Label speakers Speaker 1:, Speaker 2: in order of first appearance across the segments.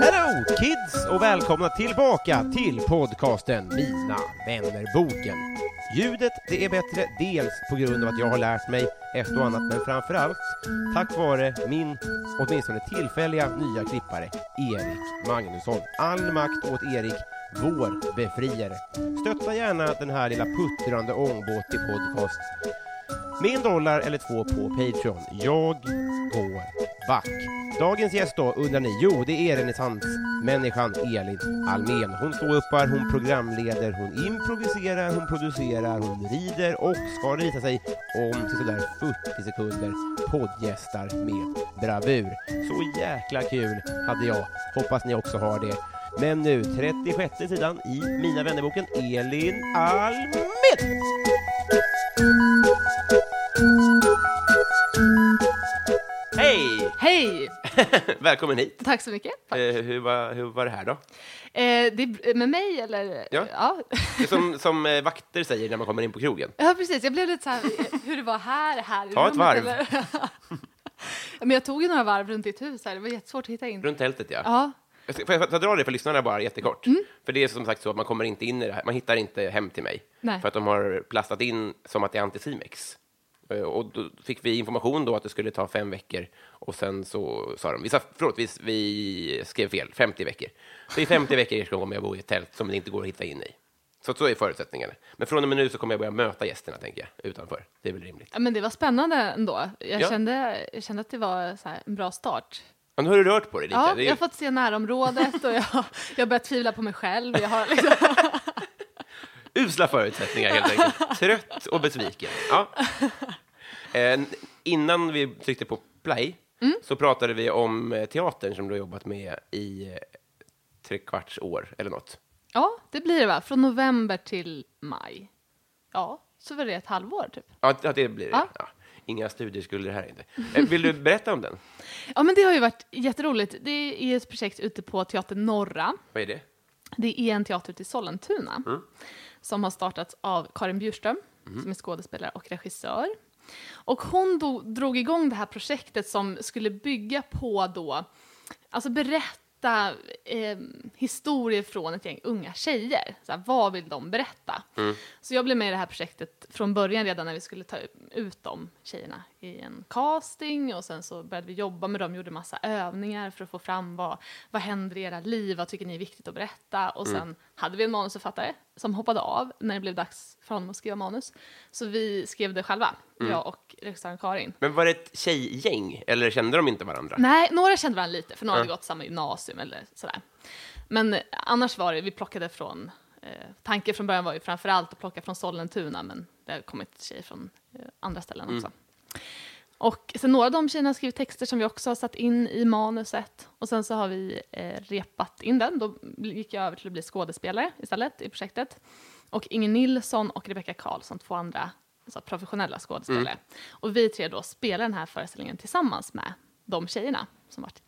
Speaker 1: Hello kids och välkomna tillbaka till podcasten Mina vännerboken. Ljudet det är bättre dels på grund av att jag har lärt mig ett och annat men framförallt tack vare min åtminstone tillfälliga nya klippare Erik Magnusson. All makt åt Erik, vår befriare. Stötta gärna den här lilla puttrande ångbåt i podcast med en dollar eller två på Patreon. Jag går back. Dagens gäst då, undrar ni? Jo, det är renässansmänniskan Elin Almen. Hon står uppar, hon programleder, hon improviserar, hon producerar, hon rider och ska det visa sig om till sådär 40 sekunder poddgästar med bravur. Så jäkla kul hade jag. Hoppas ni också har det. Men nu, 36 sidan i Mina vännerboken, Elin Almen! Hej!
Speaker 2: Hej!
Speaker 1: Välkommen hit.
Speaker 2: Tack så mycket. Tack.
Speaker 1: Eh, hur, var, hur var det här då?
Speaker 2: Eh, det är med mig eller?
Speaker 1: Ja.
Speaker 2: ja.
Speaker 1: Det är Som, som eh, vakter säger när man kommer in på krogen.
Speaker 2: Ja, precis. Jag blev lite så här, eh, hur det var här, här i
Speaker 1: Ta ett
Speaker 2: rummet,
Speaker 1: varv.
Speaker 2: eller? Ja, Men jag tog ju några varv runt ditt hus här. Det var jättesvårt att hitta in.
Speaker 1: Runt tältet, ja.
Speaker 2: Ja, Mm.
Speaker 1: Jag ska- Får jag, får jag dra det för lyssnarna bara jättekort? För det är som sagt så att man kommer inte in i det här. Man hittar inte hem till mig.
Speaker 2: Nej.
Speaker 1: För att de har plastat in som att det är Anticimex. Eh, Och då fick vi information då att det skulle ta fem veckor. Och sen så sa de, vi sa, förlåt, vi, vi skrev fel, 50 veckor. Så i 50 veckor ska jag kommer jag bo i ett tält som det inte går att hitta in i. Så, så är förutsättningarna. Men från och med nu så kommer jag börja möta gästerna, tänker jag, utanför. Det är väl rimligt.
Speaker 2: Ja, men det var spännande ändå. Jag,
Speaker 1: Ja.
Speaker 2: kände, jag kände att det var så här, en bra start.
Speaker 1: Ja, nu har du rört på dig lite.
Speaker 2: Ja,
Speaker 1: det är,
Speaker 2: jag har fått se närområdet och jag, jag har börjat tvivla på mig själv. Jag har liksom,
Speaker 1: Usla förutsättningar, helt enkelt. Trött och besviken. Ja. Eh, innan vi tryckte på play
Speaker 2: Mm.
Speaker 1: så pratade vi om eh, teatern som du har jobbat med i eh, tre kvarts år eller något.
Speaker 2: ja, det blir det va? Från november till maj. Ja, så var det ett halvår typ.
Speaker 1: Ja, ja, det blir det.
Speaker 2: Ja.
Speaker 1: Ja. Inga studieskulder här inte. Eh, vill du berätta om den?
Speaker 2: Ja, men det har ju varit jätteroligt. Det är ett projekt ute på Teater Norra.
Speaker 1: Vad är det?
Speaker 2: Det är en teater ute i Sollentuna som har startats av Karin Bjurström, som är skådespelare och regissör. Och hon do, drog igång det här projektet som skulle bygga på då, alltså berätta eh, historier från ett gäng unga tjejer. Så här, vad vill de berätta? Så jag blev med i det här projektet från början redan när vi skulle ta ut de tjejerna i en casting och sen så började vi jobba med dem, gjorde massa övningar för att få fram vad, vad händer i era liv, vad tycker ni är viktigt att berätta och sen hade vi en manusförfattare som hoppade av när det blev dags för honom att skriva manus. Så vi skrev det själva, jag och regissören Karin.
Speaker 1: Men var det ett tjejgäng eller kände de inte varandra?
Speaker 2: Nej, några kände varandra lite, för några hade gått samma gymnasium eller sådär. Men eh, annars var det, vi plockade från, eh, tanken från början var ju framförallt att plocka från Sollentuna, men det har kommit tjejer från eh, andra ställen också. Och sen några av de tjejerna har skrivit texter som vi också har satt in i manuset. Och sen så har vi eh, repat in den. Då bl- gick jag över till att bli skådespelare istället i projektet. Och Inger Nilsson och Rebecca Karlsson, två andra alltså, professionella skådespelare. Och vi tre då spelar den här föreställningen tillsammans med de tjejerna som varit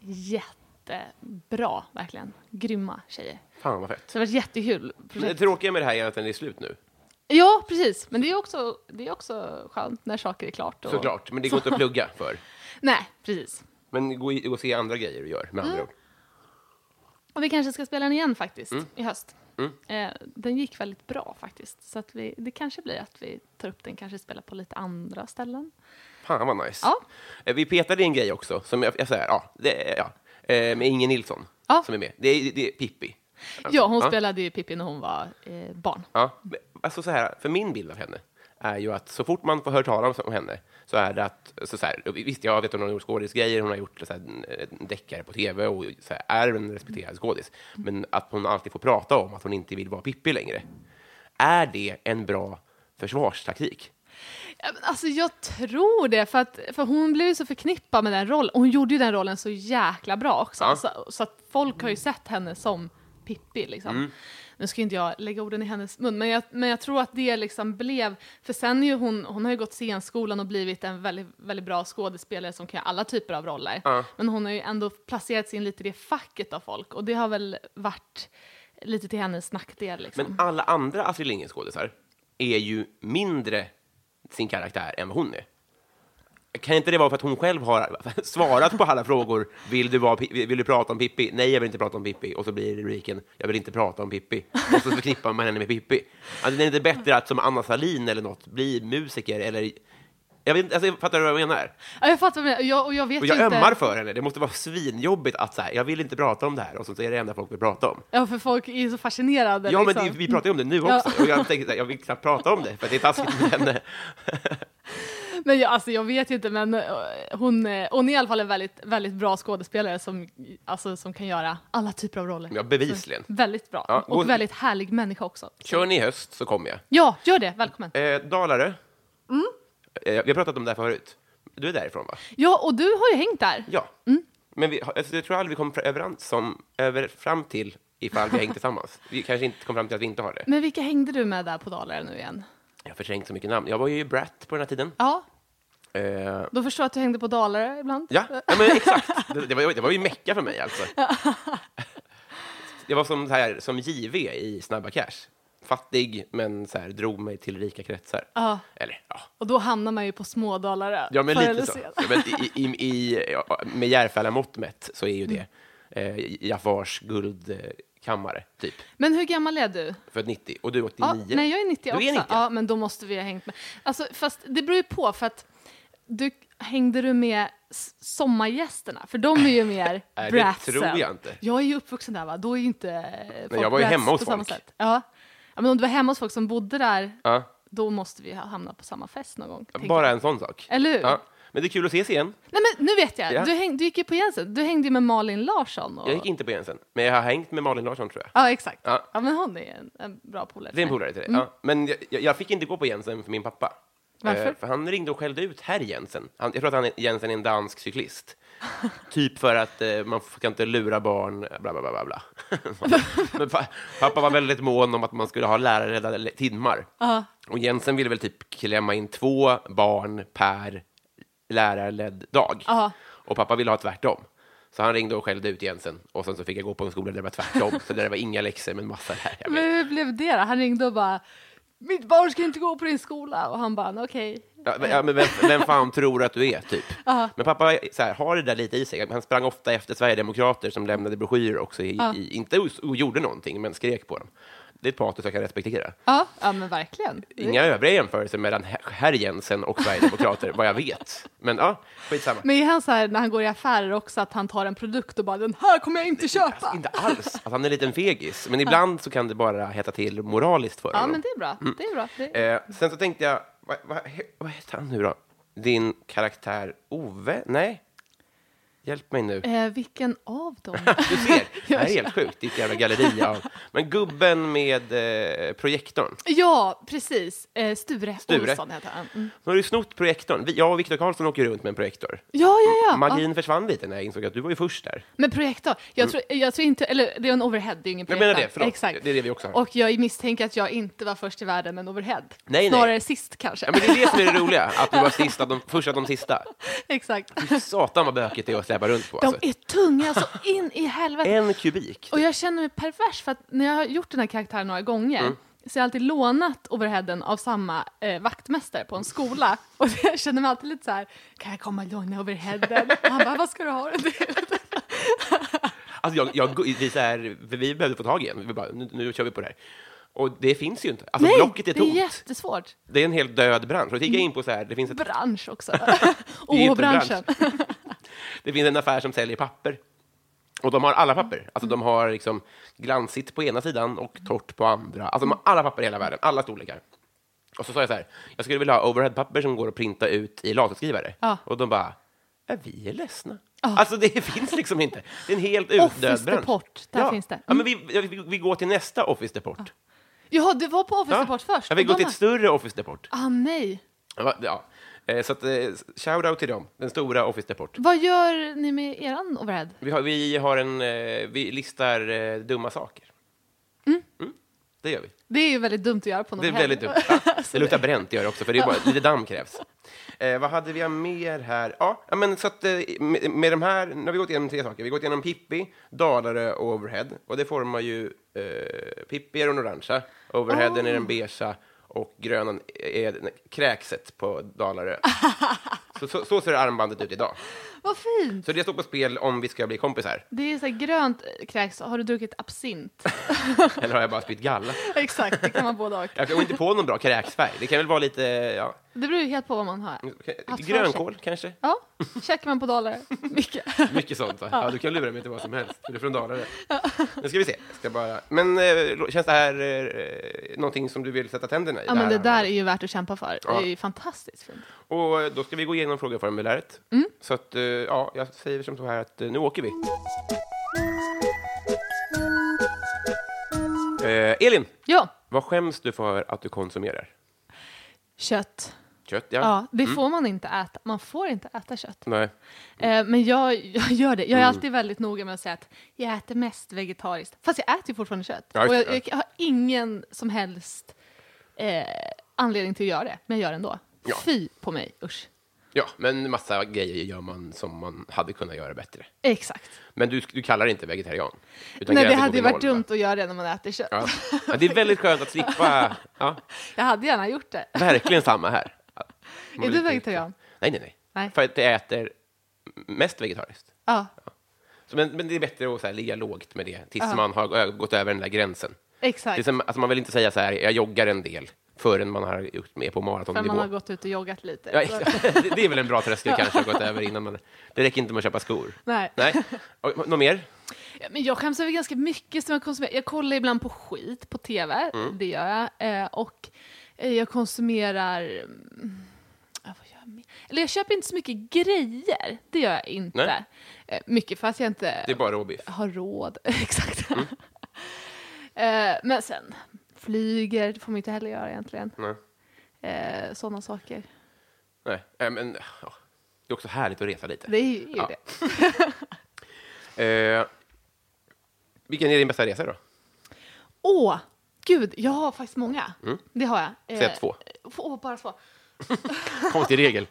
Speaker 2: jättebra, verkligen. Grymma tjejer.
Speaker 1: Fan vad fett.
Speaker 2: Så det har varit jättekul projekt.
Speaker 1: Det tråkiga med det här är att den är slut nu,
Speaker 2: Ja, precis. Men det är också, det är också skönt när saker är klart. Och...
Speaker 1: såklart. Men det går inte att plugga för.
Speaker 2: Nej, precis.
Speaker 1: Men gå, i-
Speaker 2: Mm.
Speaker 1: gå och se andra grejer du gör, med andra ord.
Speaker 2: Och vi kanske ska spela den igen faktiskt, i höst. Eh, den gick väldigt bra faktiskt. Så att vi, det kanske blir att vi tar upp den, kanske spelar på lite andra ställen.
Speaker 1: Fan vad nice.
Speaker 2: Ja.
Speaker 1: Eh, Vi petade i en grej också, som jag, jag säger, ja, det, ja, eh, med Inge Nilsson
Speaker 2: Ja.
Speaker 1: som är med. Det är, det är Pippi.
Speaker 2: Ja, hon spelade ju Pippi när hon var eh, barn.
Speaker 1: Ja, men, alltså så här, för min bild av henne är ju att så fort man får höra talas om henne så är det att, så så här, visst jag vet att hon har gjort skådisgrejer, hon har gjort så här, eh, deckare på tv och så här, är en respekterad skådis, men att hon alltid får prata om att hon inte vill vara Pippi längre. Är det en bra försvarstaktik?
Speaker 2: Ja, men Alltså jag tror det, för, att, för hon blev ju så förknippad med den rollen. Hon gjorde ju den rollen så jäkla bra också.
Speaker 1: Ja.
Speaker 2: Så, så att folk har ju sett henne som Pippi liksom.
Speaker 1: Mm.
Speaker 2: Nu ska ju inte jag lägga orden i hennes mun, men jag, men jag tror att det liksom blev... För sen är ju hon, hon har ju gått scenskolan och blivit en väldigt, väldigt bra skådespelare som kan göra alla typer av roller. Men hon har ju ändå placerats in lite i det facket av folk och det har väl varit lite till hennes nackdel liksom.
Speaker 1: Men alla andra Astrid Lindgren-skådisar är ju mindre sin karaktär än vad hon är. Kan inte det vara för att hon själv har svarat på alla frågor? Vill du, vara, Pi- vill du prata om Pippi? Nej, jag vill inte prata om Pippi. Och så blir rubriken Jag vill inte prata om Pippi. Och så förknippar man henne med Pippi. Alltså, det är inte bättre att som Anna Salin eller något bli musiker eller... Jag vet, inte- alltså, fattar du vad jag menar?
Speaker 2: Ja, jag fattar, vad du menar. jag, och jag vet
Speaker 1: Och
Speaker 2: ju
Speaker 1: jag
Speaker 2: inte...
Speaker 1: ömmar för henne. Det måste vara svinjobbigt att så här, jag vill inte prata om det här och så är det det enda folk vill prata om.
Speaker 2: Ja, för folk är ju så fascinerade.
Speaker 1: Ja, men
Speaker 2: liksom.
Speaker 1: det, vi pratar ju om det nu
Speaker 2: Ja.
Speaker 1: också. Och jag tänkte så här, jag vill knappt prata om det, för att det är taskigt eh, med henne.
Speaker 2: men jag, alltså, jag vet ju inte, men eh, hon, eh, hon är i alla fall en väldigt, väldigt bra skådespelare som, alltså, som kan göra alla typer av roller.
Speaker 1: Ja, bevisligen.
Speaker 2: Väldigt bra.
Speaker 1: Ja,
Speaker 2: och
Speaker 1: hon-
Speaker 2: väldigt härlig människa också.
Speaker 1: Kör ni i höst så kommer jag.
Speaker 2: Ja, gör det. Välkommen.
Speaker 1: Eh, Dalarö.
Speaker 2: Mm.
Speaker 1: Eh, vi har pratat om det här förut. Du är därifrån, va?
Speaker 2: Ja, och du har ju hängt där.
Speaker 1: Ja.
Speaker 2: Mm.
Speaker 1: Men vi, har- alltså, jag tror aldrig vi kom fra- överens om, över, fram till ifall vi har hängt tillsammans. Vi kanske inte kom fram till att vi inte har det.
Speaker 2: Men vilka hängde du med där på Dalarö nu igen?
Speaker 1: Jag har förträngt så mycket namn. Jag var ju i Brat på den här tiden.
Speaker 2: Ja,
Speaker 1: Eh,
Speaker 2: då förstår jag att du hängde på Dalarö ibland.
Speaker 1: Ja, ja men exakt. Det, det, var, det var ju mecka för mig alltså. Det var som, så här, som JV i Snabba Cash. Fattig, men så här, drog mig till rika kretsar.
Speaker 2: Ja.
Speaker 1: Eller, ja.
Speaker 2: Och då hamnar man ju på Smådalarö.
Speaker 1: Ja, men
Speaker 2: förr eller
Speaker 1: lite så.
Speaker 2: sen.
Speaker 1: Ja, men i, i, i, ja, med Järfälla-mått mätt så är ju det
Speaker 2: Mm.
Speaker 1: eh, Jaffars guldkammare, typ.
Speaker 2: Men hur gammal är du?
Speaker 1: Född 90. Och du är 89.
Speaker 2: Ja, nej, jag är 90
Speaker 1: Du
Speaker 2: också.
Speaker 1: är 90.
Speaker 2: Ja, men då måste vi ha hängt med. Alltså, fast det beror ju på, för att du, hängde du med s- sommargästerna? För de är ju mer
Speaker 1: Nej, det
Speaker 2: bratsen.
Speaker 1: tror jag inte.
Speaker 2: Jag är ju uppvuxen där, va? Då är ju inte folk
Speaker 1: jag var ju
Speaker 2: brats
Speaker 1: hemma hos
Speaker 2: på samma
Speaker 1: folk.
Speaker 2: sätt. Ja. ja, men om du var hemma hos folk som bodde där,
Speaker 1: Ja.
Speaker 2: då måste vi ha hamnat på samma fest någon gång. tänker
Speaker 1: Bara
Speaker 2: jag.
Speaker 1: en sån sak.
Speaker 2: Eller hur?
Speaker 1: Ja. Men det är kul att ses igen.
Speaker 2: Nej, men nu vet jag.
Speaker 1: Ja.
Speaker 2: Du, häng, du gick ju på Jensen. Du hängde ju med Malin Larsson. Och...
Speaker 1: Jag gick inte på Jensen, men jag har hängt med Malin Larsson, tror jag.
Speaker 2: Ja, exakt.
Speaker 1: Ja.
Speaker 2: Ja. men hon är en, en bra polare.
Speaker 1: Det är en polare till dig.
Speaker 2: Mm.
Speaker 1: Ja. Men jag, jag- jag fick inte gå på Jensen för min pappa. Eh,
Speaker 2: Varför?
Speaker 1: för han ringde och skällde ut herr Jensen. Han, jag tror att han, är- Jensen är en dansk cyklist. typ för att eh, man ska inte lura barn, bla, bla, bla, bla, bla. Men pa, pappa var väldigt mån om att man skulle ha lärarledda le- timmar. Och Jensen ville väl typ klämma in två barn per lärarledd dag.
Speaker 2: Ja.
Speaker 1: Och pappa ville ha tvärtom. Så han ringde och skällde ut Jensen. Och sen så fick jag gå på en skola där det var tvärtom. så där det var inga läxor, men massa lärare.
Speaker 2: Men hur blev det då? Han ringde och bara mitt barn ska inte gå på din skola och han bara okej.
Speaker 1: Ja, men- ja, men vem, vem fan tror att du är, typ? Men pappa är så här, har det där lite i sig. Han sprang ofta efter Sverigedemokrater som lämnade broschyrer också, i, i, inte os- och gjorde någonting, men skrek på dem. Det är ett patos jag kan respektera.
Speaker 2: Ja, ja men verkligen.
Speaker 1: Inga övriga jämförelser mellan herr- herr Jensen och Sverigedemokrater, vad jag vet. Men ja, skitsamma.
Speaker 2: Men är han så här när han går i affärer också att han tar en produkt och bara den här kommer jag inte köpa.
Speaker 1: Alltså, inte alls. Att han är en liten fegis. Men ibland så kan det bara heta till moraliskt för
Speaker 2: Ja
Speaker 1: honom.
Speaker 2: men det är bra. Det är bra. Det...
Speaker 1: Eh, sen så tänkte jag, vad, vad, he- vad heter han nu då? Din karaktär Ove? Nej? Hjälp mig nu.
Speaker 2: Eh, vilken av dem?
Speaker 1: Du ser, det här är helt sjukt. Ditt jävla galleri av... Men gubben med eh, projektorn.
Speaker 2: ja precis. Eh, Sture,
Speaker 1: Sture.
Speaker 2: Olsson heter han. Mm.
Speaker 1: Nu har du snott projektorn. Vi- Jag och Viktor Karlsson åker runt med en projektor.
Speaker 2: Ja, ja, ja.
Speaker 1: Mm. Magin
Speaker 2: ja.
Speaker 1: försvann lite när jag insåg att du var ju först där.
Speaker 2: Men projektor, jag tror, jag tror inte, eller det är en overhead, det är ju ingen
Speaker 1: Jag
Speaker 2: projektor.
Speaker 1: menar det, förlåt.
Speaker 2: Exakt.
Speaker 1: Det är det vi också har.
Speaker 2: Och jag misstänker att jag inte var först i världen med en overhead.
Speaker 1: nej.
Speaker 2: Snarare sist kanske.
Speaker 1: Ja, men det är det som är det roliga, att du var sist av de, först av de sista.
Speaker 2: Exakt.
Speaker 1: Satan vad bökigt det är att släpa runt på.
Speaker 2: De
Speaker 1: Alltså.
Speaker 2: är tunga så in i helvete.
Speaker 1: En kubik. typ.
Speaker 2: Och jag känner mig pervers för att när jag har gjort den här karaktären några gånger
Speaker 1: Mm.
Speaker 2: så har jag alltid lånat overheaden av samma eh, vaktmästare på en skola. Och jag känner mig alltid lite så här, kan jag komma och låna overheaden? Och han bara, vad ska du ha den till?
Speaker 1: Alltså jag, jag, vi, så här, vi behövde få tag i en. Vi bara, nu, nu kör vi på det här. Och det finns ju inte. Alltså blocket är
Speaker 2: det är
Speaker 1: tomt.
Speaker 2: jättesvårt.
Speaker 1: Det är en helt död bransch. Och då gick jag in på så här, det finns, ett,
Speaker 2: Bransch också.
Speaker 1: Det är
Speaker 2: Åh,
Speaker 1: inte en bransch.
Speaker 2: branschen.
Speaker 1: det finns en affär som säljer papper. Och de har alla papper. Alltså
Speaker 2: Mm.
Speaker 1: de har liksom glansigt på ena sidan och torrt på andra. Alltså de har alla papper i hela världen, alla storlekar. Och så sa jag så här, jag skulle vilja ha overheadpapper som går att printa ut i laserskrivare.
Speaker 2: Ja.
Speaker 1: Och de bara, ja, vi är ledsna. Alltså det finns liksom inte. Det är en helt utdöd bransch.
Speaker 2: Office Deport, där
Speaker 1: ja.
Speaker 2: finns det.
Speaker 1: Ja, men vi, ja, vi, vi går till nästa Office Deport.
Speaker 2: Jaha, du var på Office
Speaker 1: Ja.
Speaker 2: Deport först?
Speaker 1: Ja, vi
Speaker 2: och
Speaker 1: går
Speaker 2: de
Speaker 1: till
Speaker 2: har-
Speaker 1: ett större Office Deport.
Speaker 2: Ah, nej.
Speaker 1: Ja, Ja. Eh, Så att, eh, shout-out till dem, den stora Office Deport.
Speaker 2: Vad gör ni med eran overhead?
Speaker 1: Vi har, vi har en, eh, vi listar eh, dumma saker. Mm, Det gör vi.
Speaker 2: Det är ju väldigt dumt att göra på en
Speaker 1: Det är
Speaker 2: overhead.
Speaker 1: väldigt dumt. Ja, det luktar bränt gör det också, för det är bara, lite damm krävs. Eh, vad hade vi mer här? Ja, ja, men så att eh, med, med de här, nu har vi gått igenom tre saker. Vi har gått igenom Pippi, Dalare och Overhead. Och det formar ju, eh, Pippi är den orangea, Overheaden är den beigea och grönan är den- kräkset på Dalare. Så, så, så ser armbandet ut idag.
Speaker 2: Vad fint!
Speaker 1: Så det står på spel om vi ska bli kompisar.
Speaker 2: Det är så här grönt eh, kräks. Har du druckit absint?
Speaker 1: Eller har jag bara spytt galla?
Speaker 2: Exakt, det kan man både och.
Speaker 1: Jag kommer inte på någon bra kräksfärg. Det kan väl vara lite ja,
Speaker 2: Det beror ju helt på vad man har. för sig.
Speaker 1: grönkål kanske?
Speaker 2: Ja, checkar man på dollar. Mycket.
Speaker 1: Mycket sånt. Va? Ja, du kan lura mig till vad som helst. för Du är från Dalarna. Nu ska vi se. Jag Ska bara... Men eh, lo- känns det här eh, någonting som du vill sätta tänderna i?
Speaker 2: Ja, men det
Speaker 1: här?
Speaker 2: där är ju värt att kämpa för.
Speaker 1: Ja.
Speaker 2: Det är ju fantastiskt fint.
Speaker 1: Och eh, då ska vi gå igenom frågeformuläret.
Speaker 2: Mm.
Speaker 1: Så att, eh, ja, jag säger som så här att eh, nu åker vi. Eh, Elin,
Speaker 2: Ja,
Speaker 1: vad skäms du för att du konsumerar?
Speaker 2: kött.
Speaker 1: Kött, ja. Mm.
Speaker 2: Ja, det får man inte äta. Man får inte äta kött.
Speaker 1: Nej. Mm.
Speaker 2: Eh, men jag, jag gör det. Jag är alltid väldigt noga med att säga att jag äter mest vegetariskt. Fast jag äter ju fortfarande kött.
Speaker 1: Ja, just
Speaker 2: och
Speaker 1: det,
Speaker 2: jag, jag har ingen som helst eh, anledning till att göra det. Men jag gör det ändå.
Speaker 1: Ja.
Speaker 2: Fy på mig, usch.
Speaker 1: Ja, men massa grejer gör man som man hade kunnat göra bättre.
Speaker 2: Exakt.
Speaker 1: Men du, du kallar det inte vegetarian? utan
Speaker 2: Nej, det
Speaker 1: gränsen
Speaker 2: hade
Speaker 1: går
Speaker 2: ju
Speaker 1: vid
Speaker 2: varit
Speaker 1: noll, va?
Speaker 2: dumt att göra det när man äter kött.
Speaker 1: Ja. Ja, det är väldigt skönt att slippa. Ja,
Speaker 2: Jag hade gärna gjort det.
Speaker 1: verkligen samma här. Ja, man blir
Speaker 2: Är du
Speaker 1: lite-
Speaker 2: vegetarian?
Speaker 1: Nej, nej, nej,
Speaker 2: Nej.
Speaker 1: För att jag äter mest vegetariskt.
Speaker 2: Ja,
Speaker 1: Så, men, men det är bättre att så här, ligga lågt med det tills
Speaker 2: Ja.
Speaker 1: man har ö- gått över den där gränsen. Det är
Speaker 2: exakt.
Speaker 1: som, alltså, man vill inte säga så här, jag joggar en del förrän man har gjort med på
Speaker 2: För
Speaker 1: maratonnivå.
Speaker 2: man har gått ut och joggat lite.
Speaker 1: Ja, exakt. Det- det är väl en bra tröskel kanske att ha gått över innan man... Det räcker inte med att köpa skor.
Speaker 2: Nej.
Speaker 1: Nej. Och, något mer?
Speaker 2: Ja, Men jag skäms över ganska mycket som jag konsumerar. Jag kollar ibland på skit på tv,
Speaker 1: Mm.
Speaker 2: det gör jag. Eh, och eh, jag konsumerar... mm, ja, vad gör jag mer? Eller jag köper inte så mycket grejer, det gör jag inte.
Speaker 1: Nej.
Speaker 2: Eh, mycket för att jag inte
Speaker 1: Det Mm. är bara råbiff.
Speaker 2: har råd. Exakt. eh, men sen, flyger, det får man inte heller göra egentligen.
Speaker 1: Nej.
Speaker 2: Eh, Sådana saker.
Speaker 1: Nej. Äh, men, ja. Det är också härligt att resa lite.
Speaker 2: Det är ju
Speaker 1: Ja.
Speaker 2: det.
Speaker 1: Eh, vilken är din bästa resa då?
Speaker 2: Åh, gud, jag har faktiskt många. Det har jag. Eh,
Speaker 1: Säg Mm. två.
Speaker 2: Åh, bara två.
Speaker 1: Konstig regel.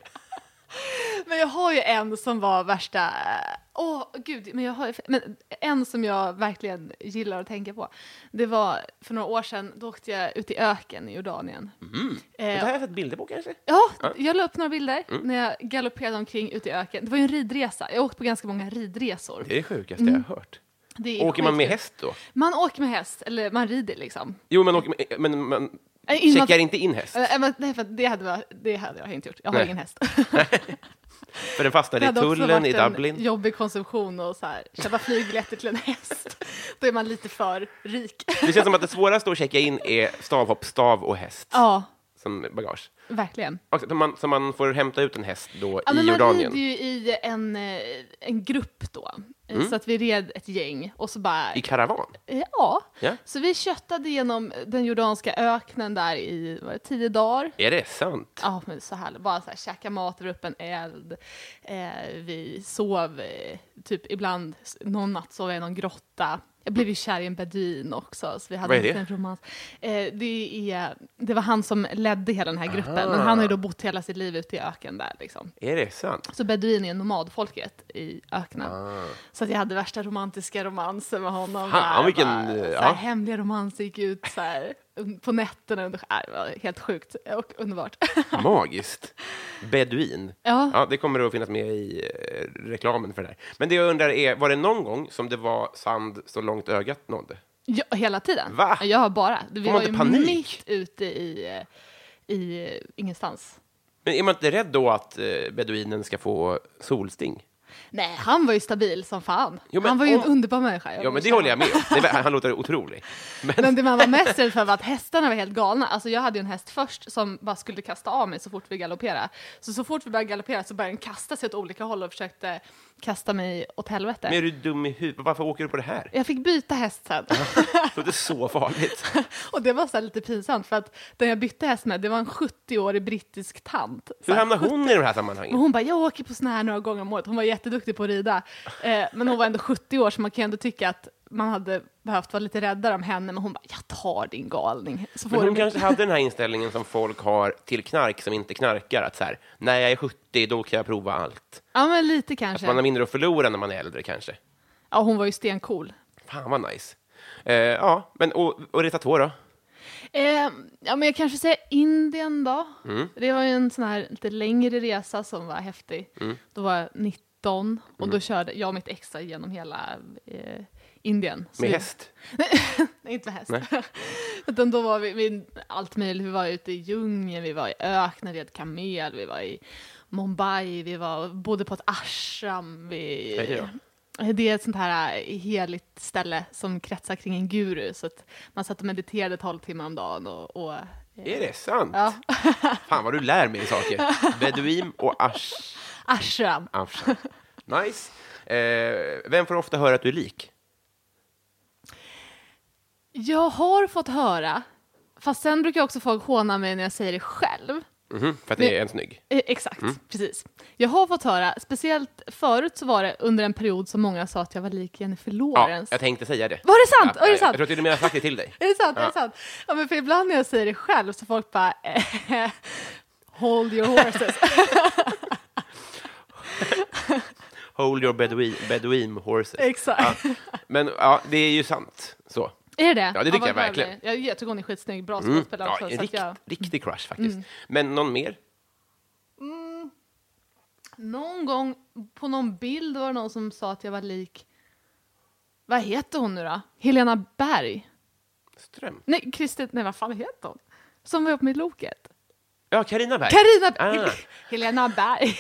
Speaker 2: Men jag har ju en som var värsta... eh, Åh, gud. Men jag har ju... men en som jag verkligen gillar att tänka på. Det var för några år sedan, då åkte jag ut i öken i Jordanien.
Speaker 1: Mm. Det här
Speaker 2: Eh,
Speaker 1: har jag sett bilder på kanske?
Speaker 2: ja, jag la upp några bilder
Speaker 1: Mm.
Speaker 2: när jag galopperade omkring ute i öken. Det var ju en ridresa. Jag har åkt på ganska många ridresor.
Speaker 1: Det är det sjukaste jag har hört.
Speaker 2: Mm. Det är
Speaker 1: Åker man med
Speaker 2: skitkul.
Speaker 1: häst då?
Speaker 2: Man åker med häst, eller man rider liksom.
Speaker 1: Jo, men, åker, man- men man
Speaker 2: Eh, innan-
Speaker 1: checkar inte in häst,
Speaker 2: Eh, men- Nej, för det hade, jag, det hade jag inte gjort. Jag har
Speaker 1: Nej.
Speaker 2: ingen häst.
Speaker 1: för den fastnar i
Speaker 2: hade också
Speaker 1: tullen i
Speaker 2: varit en
Speaker 1: Dublin.
Speaker 2: jobbig konsumtion och så här, köpa flygbiljetter till en häst. Då är man lite för rik.
Speaker 1: Det känns som att det svåraste att checka in är stavhopp, stav och häst
Speaker 2: Ja,
Speaker 1: som bagage.
Speaker 2: verkligen.
Speaker 1: Och så man, så man får hämta ut en häst då
Speaker 2: Ja,
Speaker 1: i
Speaker 2: men man
Speaker 1: Jordanien?
Speaker 2: rider ju i en, eh, en grupp då. Eh, Så att vi red ett gäng och så bara...
Speaker 1: Mm. I karavan?
Speaker 2: Eh, Ja.
Speaker 1: Ja.
Speaker 2: Så vi köttade genom den jordanska öknen där i vad var det, tio dagar.
Speaker 1: Är det sant?
Speaker 2: Ja, men så här, bara så här, käka mat över upp en eld. Eh, vi sov, eh, typ ibland, s- någon natt sov jag i någon grotta. Jag blev ju kär i en beduin också, så vi hade
Speaker 1: Vad är
Speaker 2: en
Speaker 1: det?
Speaker 2: liten romans. Eh, det, är, det var han som ledde hela den här gruppen, men han
Speaker 1: Ah.
Speaker 2: har ju då bott hela sitt liv ute i öken där. Liksom.
Speaker 1: Är det sant?
Speaker 2: Så beduin är nomadfolket i öknen. Så att jag hade värsta romantiska romanser med honom.
Speaker 1: Ah. Fan,
Speaker 2: där,
Speaker 1: vilken,
Speaker 2: bara, så här,
Speaker 1: ja.
Speaker 2: Hemliga romanser gick ut så här. um, på nätterna under... Nej, det var helt sjukt och underbart.
Speaker 1: Magiskt. Beduin.
Speaker 2: Ja.
Speaker 1: det kommer att finnas med i eh, reklamen för det här. Men det jag undrar är, var det någon gång som det var sand så långt ögat nådde?
Speaker 2: Ja, hela tiden.
Speaker 1: Va?
Speaker 2: Jag har bara. Vi
Speaker 1: Får man
Speaker 2: var
Speaker 1: inte
Speaker 2: ju
Speaker 1: panik?
Speaker 2: mitt ute i, eh, i eh, ingenstans.
Speaker 1: Men är man inte rädd då att eh, beduinen ska få solsting?
Speaker 2: Nej, han var ju stabil som fan.
Speaker 1: Jo, men
Speaker 2: han var ju
Speaker 1: om-
Speaker 2: en underbar människa.
Speaker 1: Ja, men det håller jag med om. Det, var- han låter otrolig. Men,
Speaker 2: Men det man var mest rädd för var att hästarna var helt galna. Alltså jag hade ju en häst först som bara skulle kasta av mig så fort vi galopperade. Så så fort vi började galoppera så började den kasta sig åt olika håll och försökte kasta mig åt helvete.
Speaker 1: men är du dum i huvudet? Varför åker du på det här?
Speaker 2: Jag fick byta häst sen.
Speaker 1: Det låter så farligt.
Speaker 2: och det var så här lite pinsamt för att den jag bytte häst med det var en 70-årig brittisk tant. Så
Speaker 1: Hur
Speaker 2: här,
Speaker 1: hamnar hon i de här sammanhangen?
Speaker 2: Men hon bara, jag åker på såna här några gånger om året. Hon var jätteduktig på att rida. Eh, men hon var ändå 70 år, så man kan ju ändå tycka att man hade behövt vara lite räddare om henne. Men hon bara, jag tar din galning. Så får
Speaker 1: Men
Speaker 2: du
Speaker 1: hon
Speaker 2: mig.
Speaker 1: kanske hade den här inställningen som folk har till knark som inte knarkar. Att så här, när jag är 70, då kan jag prova allt.
Speaker 2: Ja, men lite
Speaker 1: Att man har
Speaker 2: kanske.
Speaker 1: mindre att förlora när man är äldre kanske.
Speaker 2: Ja, hon var ju stencool.
Speaker 1: Fan vad nice. Eh, ja, men och, och rita tå då?
Speaker 2: Eh, ja, men jag kanske säger Indien då.
Speaker 1: Mm.
Speaker 2: Det var ju en sån här lite längre resa som var häftig.
Speaker 1: Mm.
Speaker 2: Då var jag 19 och då körde jag och mitt extra genom hela eh, Indien. Så
Speaker 1: Med
Speaker 2: vi-
Speaker 1: häst?
Speaker 2: Nej, inte med häst. Utan då var vi, vi allt möjligt. Vi var ute i djungeln, vi var i öknen, red kamel, vi var i Mumbai, vi var, bodde på ett ashram.
Speaker 1: Hej
Speaker 2: Vi,
Speaker 1: då.
Speaker 2: det är ett sånt här eh, heligt ställe som kretsar kring en guru. Så att man satt och mediterade 12 timmar om dagen. Och, och, eh,
Speaker 1: Är det sant?
Speaker 2: ja,
Speaker 1: Fan vad du lär mig saker. Beduim och ash.
Speaker 2: ashram.
Speaker 1: Afshan. Nice. Eh, vem får ofta höra att du är lik?
Speaker 2: Jag har fått höra, fast sen brukar också folk håna mig när jag säger det själv.
Speaker 1: Mhm, för att det är en snygg.
Speaker 2: Eh, Exakt,
Speaker 1: Mm.
Speaker 2: precis. Jag har fått höra, speciellt förut så var det under en period som många sa att jag var lik Jennifer
Speaker 1: Ja,
Speaker 2: Lawrence.
Speaker 1: jag tänkte säga det.
Speaker 2: Var det sant?
Speaker 1: Ja,
Speaker 2: Var det
Speaker 1: jag-
Speaker 2: sant?
Speaker 1: Jag tror till och med jag har sagt det till dig.
Speaker 2: Är det sant? Är det sant? Ja, men för ibland när jag säger det själv så folk bara eh, Hold your horses.
Speaker 1: Hold your beduim, beduim horses.
Speaker 2: Exakt.
Speaker 1: Men ja, det är ju sant. Så.
Speaker 2: Är det det?
Speaker 1: Ja, det tycker
Speaker 2: vad
Speaker 1: jag
Speaker 2: bra
Speaker 1: verkligen.
Speaker 2: det är. Jag, jag tycker hon är skitsnygg, bra
Speaker 1: Mm.
Speaker 2: skådespelare
Speaker 1: Ja,
Speaker 2: också.
Speaker 1: en
Speaker 2: Så att
Speaker 1: rikt,
Speaker 2: jag, Mm.
Speaker 1: riktig crush faktiskt. Men någon mer?
Speaker 2: någon gång på någon bild var det någon som sa att jag var lik, vad heter hon nu då? Helena Berg?
Speaker 1: Ström?
Speaker 2: Nej, Kristin, nej vad fan heter hon? Som var uppe med Loket.
Speaker 1: Ja, Carina Berg.
Speaker 2: Carina
Speaker 1: Ah.
Speaker 2: Hel- Helena Berg.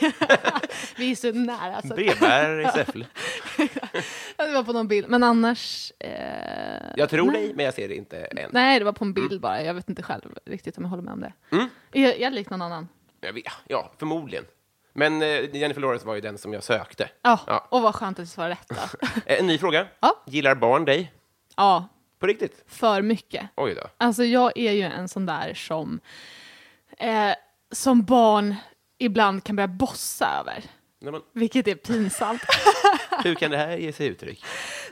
Speaker 2: Vi är så nära. Alltså.
Speaker 1: Brevbärare i Säffle.
Speaker 2: Ja, Det var på någon bild, men annars... Eh,
Speaker 1: Jag tror dig, men jag ser det inte än.
Speaker 2: nej, det var på en
Speaker 1: Mm.
Speaker 2: bild bara. Jag vet inte själv riktigt om jag håller med om det. Är jag- är jag lik någon annan?
Speaker 1: Jag vet, ja, förmodligen. Men eh, Jennifer Lawrence var ju den som jag sökte.
Speaker 2: Ja,
Speaker 1: Ja.
Speaker 2: och vad skönt att du svarade rätt då.
Speaker 1: Eh, En ny fråga.
Speaker 2: Ja.
Speaker 1: Gillar barn dig?
Speaker 2: ja,
Speaker 1: På riktigt?
Speaker 2: för mycket.
Speaker 1: Oj då.
Speaker 2: Alltså jag är ju en sån där som, eh, som barn ibland kan börja bossa över.
Speaker 1: Nej, men,
Speaker 2: Vilket är pinsamt.
Speaker 1: hur kan det här ge sig uttryck?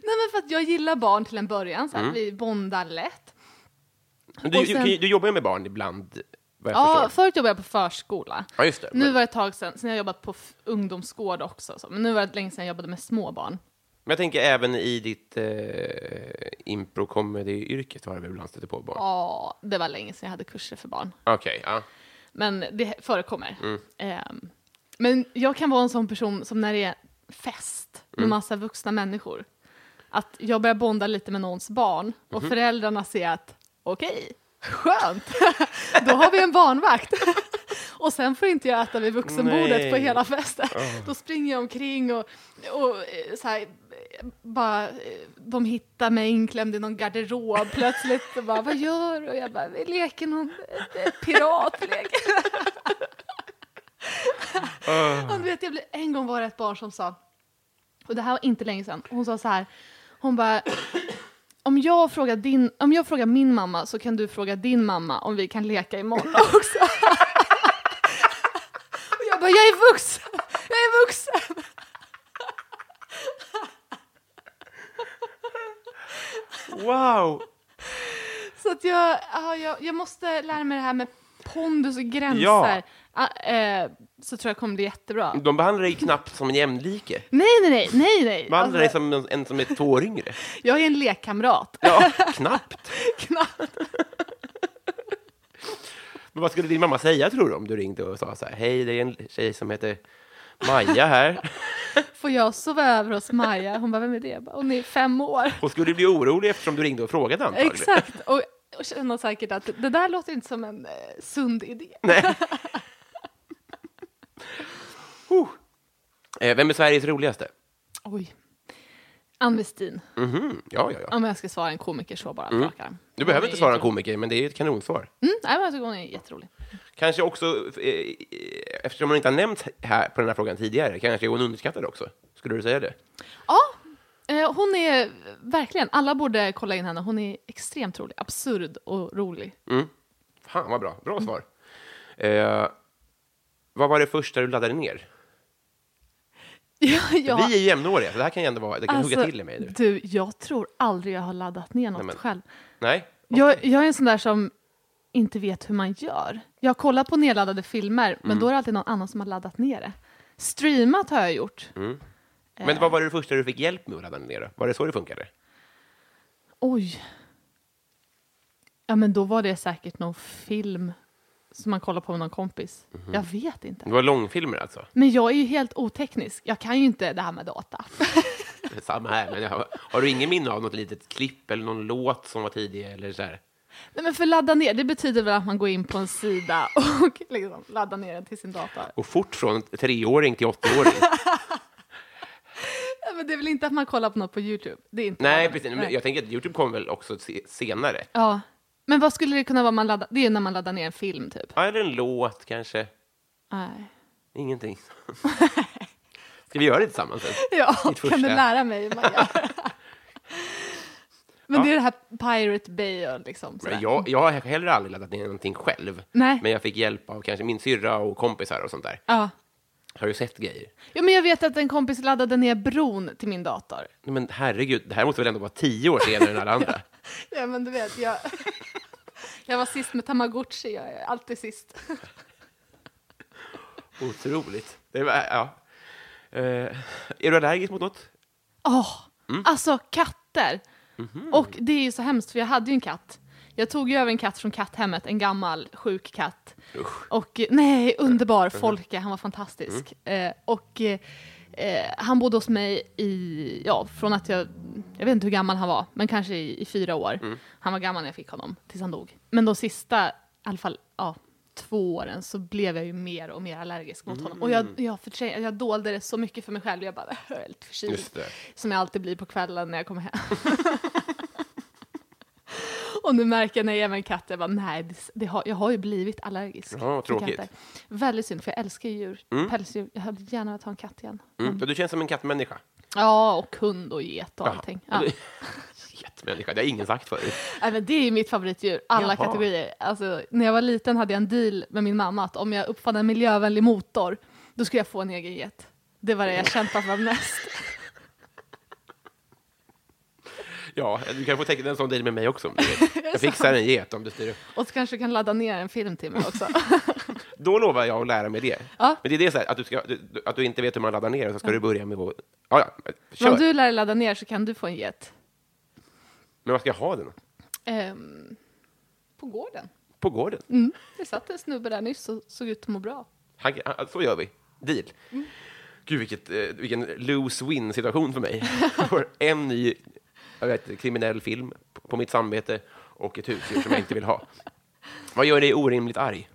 Speaker 2: Nej men för att jag gillar barn till en början, så att
Speaker 1: Mm.
Speaker 2: vi bondar lätt.
Speaker 1: Men Du,
Speaker 2: Och sen-
Speaker 1: du, du jobbar ju med barn ibland, vad jag
Speaker 2: Ja,
Speaker 1: förstår.
Speaker 2: förut jobbade jag på förskola.
Speaker 1: Ja, just det.
Speaker 2: Nu
Speaker 1: Men,
Speaker 2: var det ett tag sedan, sen har jag jobbat på f- ungdomsgård också, så. men nu var det länge sedan jag jobbade med små barn.
Speaker 1: men jag tänker även i ditt eh, impro-comedy-yrket har du väl ibland stött på barn?
Speaker 2: Ja, det var länge sedan jag hade kurser för barn.
Speaker 1: Okej, ja.
Speaker 2: Men det förekommer. Ehm, men jag kan vara en sån person som när det är fest med massa vuxna människor, att jag börjar bonda lite med någons barn och föräldrarna ser att okej, skönt, då har vi en barnvakt. Och sen får inte jag äta vid vuxenbordet på
Speaker 1: Nej.
Speaker 2: hela festen. Då springer jag omkring och, och eh, så här, eh, bara, eh, de hittar mig inklämd i någon garderob plötsligt. Och bara, vad gör du? Och jag bara, vi leker någon eh, pirat. Vi leker. Och du vet, jag blev, en gång var det ett barn som sa, och det här var inte länge sedan, hon sa så här, hon bara, om jag, frågar din, om jag frågar min mamma så kan du fråga din mamma om vi kan leka imorgon också. och jag bara, jag är vuxen, jag är vuxen.
Speaker 1: Wow!
Speaker 2: Så att jag, ja, jag, jag måste lära mig det här med pondus och gränser.
Speaker 1: Ja.
Speaker 2: Ah, eh, så tror jag kommer bli jättebra.
Speaker 1: De behandlar dig knappt som en jämlike.
Speaker 2: Nej, nej, nej, nej, nej.
Speaker 1: De behandlar dig
Speaker 2: Alltså,
Speaker 1: som en, en som är två år yngre.
Speaker 2: jag är en lekkamrat.
Speaker 1: Ja, knappt.
Speaker 2: Knappt.
Speaker 1: Men vad skulle din mamma säga, tror du, om du ringde och sa så här, hej, det är en tjej som heter Maja här.
Speaker 2: Får jag sova över hos Maja? Hon bara, vem är det? Jag bara, Hon är fem år.
Speaker 1: Hon skulle bli orolig eftersom du ringde och frågade antagligen.
Speaker 2: Exakt. Och, och känner säkert att det där låter inte som en eh, sund idé.
Speaker 1: Nej. Huh. Eh, Vem är Sveriges roligaste?
Speaker 2: Oj. Ann Westin.
Speaker 1: Mhm, Ja, ja, ja.
Speaker 2: Om jag ska svara en komiker så bara. på rak arm.
Speaker 1: Mm. Du
Speaker 2: Hon
Speaker 1: behöver
Speaker 2: är
Speaker 1: inte svara en
Speaker 2: jätterolig.
Speaker 1: komiker, men det är ett kanonsvar.
Speaker 2: Mm, nej, men jag tycker hon är jätterolig.
Speaker 1: Kanske också, eh, eh, eftersom hon inte har nämnt här på den här frågan tidigare, kanske är hon underskattad också. Skulle du säga det?
Speaker 2: Ja, eh, hon är verkligen, alla borde kolla in henne. Hon är extremt rolig, absurd och rolig.
Speaker 1: Mm. Fan, vad bra. Bra svar. Eh, vad var det första du laddade ner?
Speaker 2: Ja, alltså,
Speaker 1: Vi är ju jämnåriga, så det här kan ju ändå vara... Det kan hugga till i mig nu.
Speaker 2: du, jag tror aldrig jag har laddat ner något
Speaker 1: men-
Speaker 2: själv.
Speaker 1: Nej?
Speaker 2: Jag, jag är en sån där som inte vet hur man gör. Jag har kollat på nedladdade filmer, men
Speaker 1: Mm.
Speaker 2: då är det alltid någon annan som har laddat ner det. Streamat har jag gjort.
Speaker 1: Mm. Men vad var det första du fick hjälp med att ladda ner? då? Var det så det funkade?
Speaker 2: Oj. Ja, men då var det säkert någon film som man kollar på med någon kompis.
Speaker 1: Mhm.
Speaker 2: Jag vet inte.
Speaker 1: Det var långfilmer alltså?
Speaker 2: Men jag är ju helt oteknisk. Jag kan ju inte det här med data.
Speaker 1: Samma här, men jag har, har du ingen minne av något litet klipp eller någon låt som var tidig eller så här?
Speaker 2: Nej, men för ladda ner, det betyder väl att man går in på en sida och liksom laddar ner den till sin dator.
Speaker 1: Och fort från treåring till åttaåring.
Speaker 2: Ja, men det är väl inte att man kollar på något på YouTube? Det är inte
Speaker 1: Nej,
Speaker 2: laddande.
Speaker 1: precis. Men jag tänker att Youtube kom väl också se- senare?
Speaker 2: Ja. Men vad skulle det kunna vara man laddar? Det är ju när man laddar ner en film, typ.
Speaker 1: Ja, eller en låt kanske.
Speaker 2: Nej.
Speaker 1: Ingenting. Ska vi göra det tillsammans sen?
Speaker 2: Ja,
Speaker 1: Ditt första.
Speaker 2: kan du lära mig hur man gör? Men det är det här Pirate Bay och liksom sådär.
Speaker 1: Men jag, jag har heller aldrig laddat ner någonting själv.
Speaker 2: Nej.
Speaker 1: Men jag fick hjälp av kanske min syrra och kompisar och sånt där.
Speaker 2: Ja.
Speaker 1: Har du sett grejer?
Speaker 2: ja, men jag vet att en kompis laddade ner bron till min dator.
Speaker 1: Nej, Men herregud, det här måste väl ändå vara tio år senare än alla andra?
Speaker 2: Ja, men du vet, jag... Jag var sist med Tamagotchi, jag är alltid sist.
Speaker 1: Otroligt. Det var, ja. Eh, är du allergisk mot något?
Speaker 2: Åh,
Speaker 1: Mm.
Speaker 2: alltså katter!
Speaker 1: Mhm.
Speaker 2: Och det är ju så hemskt, för jag hade ju en katt. Jag tog ju över en katt från katthemmet, en gammal sjuk katt. Och eh, nej, underbar
Speaker 1: mhm.
Speaker 2: Folke, han var fantastisk.
Speaker 1: Mm.
Speaker 2: Eh, och eh, eh, han bodde hos mig i, ja, från att jag, jag vet inte hur gammal han var, men kanske i, i fyra år.
Speaker 1: Mm.
Speaker 2: Han var gammal när jag fick honom, tills han dog. Men de sista, i alla fall, ja, två åren så blev jag ju mer och mer allergisk
Speaker 1: Mm.
Speaker 2: mot honom. Och jag, jag, förträng- jag dolde det så mycket för mig själv, jag bara, jag är lite förkyld.
Speaker 1: Just det.
Speaker 2: Som jag alltid blir på kvällen när jag kommer hem. Och nu märker jag när jag är med en katt, jag bara, nej, det, det har, jag har ju blivit allergisk.
Speaker 1: Ja,
Speaker 2: till
Speaker 1: tråkigt.
Speaker 2: katter. Väldigt synd, för jag älskar ju djur. Pälsdjur. Jag hade gärna velat ha en katt igen.
Speaker 1: Mm. Du känns som en kattmänniska.
Speaker 2: Ja, och hund och get och allting. Ja.
Speaker 1: Jaha. Jättemänniska, det har ingen sagt förut.
Speaker 2: Nej, men det är ju mitt favoritdjur, alla
Speaker 1: Jaha.
Speaker 2: kategorier. Alltså, när jag var liten hade jag en deal med min mamma att om jag uppfann en miljövänlig motor, då skulle jag få en egen get. Det var det jag kämpade för mest.
Speaker 1: Ja, du kan få teckna en sån deal med mig också. Om du vill. Jag fixar en get om du styr upp.
Speaker 2: Och så kanske du kan ladda ner en film till mig också.
Speaker 1: Då lovar jag att lära mig det.
Speaker 2: Ja.
Speaker 1: Men det är det så här, att, du ska, du- du, att du inte vet hur man laddar ner och så ska du börja med att... Ja, ja,
Speaker 2: Men
Speaker 1: kör.
Speaker 2: om du lär dig ladda ner så kan du få en get.
Speaker 1: Men vad ska jag ha den?
Speaker 2: Ehm, på gården.
Speaker 1: På gården?
Speaker 2: Det satt en snubbe där nyss och såg ut att må bra.
Speaker 1: Han, han, så gör vi. Deal. Gud, vilket, eh, vilken lose-win-situation för mig. Jag får en ny jag vet, kriminell film på- på mitt samvete och ett husdjur som jag inte vill ha. Vad gör dig orimligt arg?